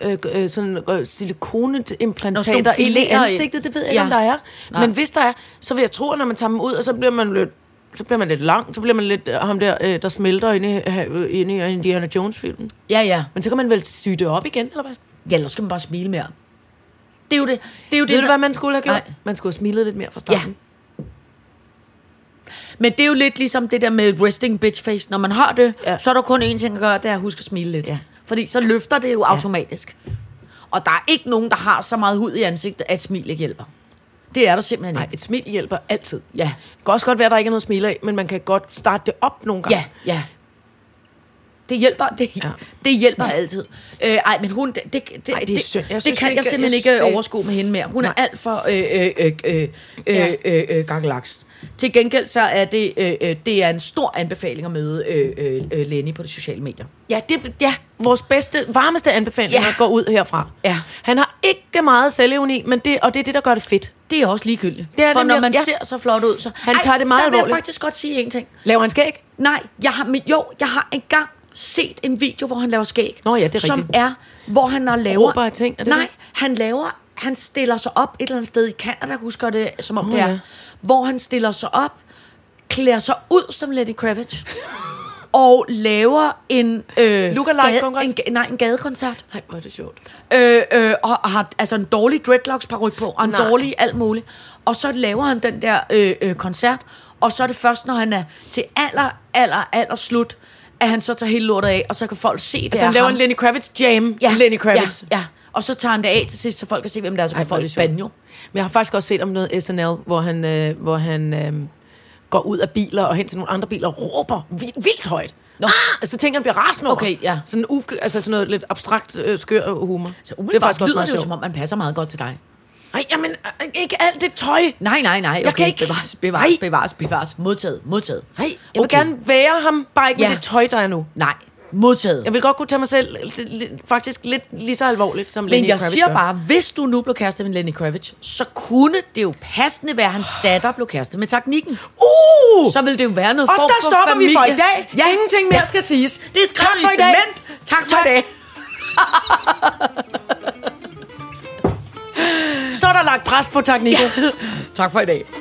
C: øh, øh, sådan øh,
D: Nå, sådan
C: silikoneimplantater
D: nogle
C: ind i
D: fileter i-
C: ansigtet, det ved jeg ikke,
D: Ja.
C: om der er.
D: Nej.
C: Men hvis der er, så vil jeg tro, at når man tager dem ud, og så bliver man lidt, så bliver man lidt lang, så bliver man lidt øh, ham der, øh, der smelter inde i, øh, inde i Indiana Jones-filmen.
D: Ja, ja.
C: Men så kan man vel syge det op igen, eller hvad?
D: Ja, ellers skal man bare smile mere. Det er jo det. det, er jo det
C: Ved du, hvad man skulle have gjort?
D: Nej.
C: Man skulle have smilet lidt mere fra
D: Ja.
C: starten.
D: Men det er jo lidt ligesom det der med resting bitch face. Når man har det,
C: Ja.
D: ja. så er der kun én ting at gøre, det er at huske at smile lidt.
C: Ja.
D: Fordi så løfter det jo ja. automatisk. Og der er ikke nogen, der har så meget hud i ansigtet, at smil ikke hjælper. Det er der simpelthen
C: Nej,
D: ikke.
C: et smil hjælper altid.
D: Ja.
C: Det kan også godt være, at der ikke er noget smil af, men man kan godt starte det op nogle gange.
D: Ja, ja. Det hjælper, det,
C: Ja.
D: ja. det hjælper altid. Øh, ej, men hun, det, det, det,
C: Ej, det er synd. Jeg
D: det,
C: synes,
D: det kan
C: det
D: jeg
C: gør-
D: simpelthen
C: jeg
D: ikke
C: synes, det-
D: det... overskue med hende mere. Hun Nej. er
C: Nej.
D: alt for øh, øh, øh, øh, øh, øh, gakkelaks. Til gengæld så er det, øh, øh, det er en stor anbefaling at møde øh, øh, øh, Lenny på de sociale medier.
C: Ja, det, ja, vores bedste, varmeste anbefalinger ja.
D: Ja.
C: går ud herfra.
D: Ja.
C: Han har ikke meget selvevne, men det, og det er det, der gør det fedt.
D: Det er også ligegyldigt.
C: Det er
D: For
C: det
D: når
C: nemlig,
D: man
C: ja.
D: ja. ser så flot ud, så...
C: Han tager det meget
D: der vil jeg
C: alvorligt.
D: faktisk godt sige en ting.
C: Laver han skæg?
D: Nej, jeg har, men jo, jeg har engang set en video, hvor han laver skæg.
C: Nå ja, det er
D: Som
C: rigtigt.
D: er, hvor han har laver...
C: Råber af ting, er det
D: nej,
C: det?
D: han laver... Han stiller sig op et eller andet sted i Canada, husker jeg det, som om
C: Åh,
D: oh, det er.
C: ja.
D: Ja. Hvor han stiller sig op, klæder sig ud som Lenny Kravitz, og laver en... Øh,
C: Lookalike
D: gade-
C: konkurrence?
D: en, ga- Nej, en gadekoncert.
C: Nej, hvor er det sjovt.
D: Øh, øh, og og har altså en dårlig dreadlocks paryk på, og en
C: Nej.
D: Nej. dårlig alt muligt. Og så laver han den der øh, øh, koncert, og så er det først, når han er til aller, aller, aller slut, at han så tager hele lortet af, og så kan folk se det
C: Altså, han
D: er
C: laver
D: ham.
C: en Lenny Kravitz jam.
D: ja,
C: Lenny Kravitz.
D: Ja, ja, og så tager han det af til sidst, så folk kan se, hvem det er, så
C: Ej,
D: kan
C: hvor er
D: folk
C: det
D: det
C: sjovt.
D: banjo.
C: Men jeg har faktisk også set om noget SNL, hvor han, øh, hvor han øh, går ud af biler og hen til nogle andre biler og råber vildt, vildt højt. Nå. Ah, så tænker han bliver rasende over.
D: Okay, ja.
C: Sådan, uf- altså sådan noget lidt abstrakt, øh, skør humor.
D: Så umiddelbart det lyder det jo, som
C: sjovt.
D: om man passer meget godt til dig.
C: Nej, jamen, øh, ikke alt det tøj.
D: Nej, nej, nej. Okay.
C: Jeg kan ikke-
D: Bevares, bevares,
C: Nej.
D: bevares, bevares. Modtaget, modtaget.
C: Nej, jeg vil
D: Okay.
C: gerne være ham, bare ikke ja.
D: Ja.
C: med det tøj, der er nu.
D: Nej, modtaget.
C: Jeg vil godt kunne tage mig selv lidt- lidt- faktisk lidt lige så alvorligt, som Lenny
D: Men jeg
C: Kravitz
D: siger
C: gør.
D: bare, hvis du nu blev kæreste med Lenny Kravitz, så kunne det jo passende være, at hans datter blev kæreste med teknikken. Uh! Så ville det jo være noget
C: Og
D: form
C: der
D: for
C: stopper
D: familie.
C: vi for i dag. Ja. Ingenting mere skal siges.
D: Det er skrevet
C: tak for
D: i
C: i dag.
D: cement. Tak for i dag.
C: [LAUGHS] Så er der lagt pres på teknikken.
D: Tak for i dag.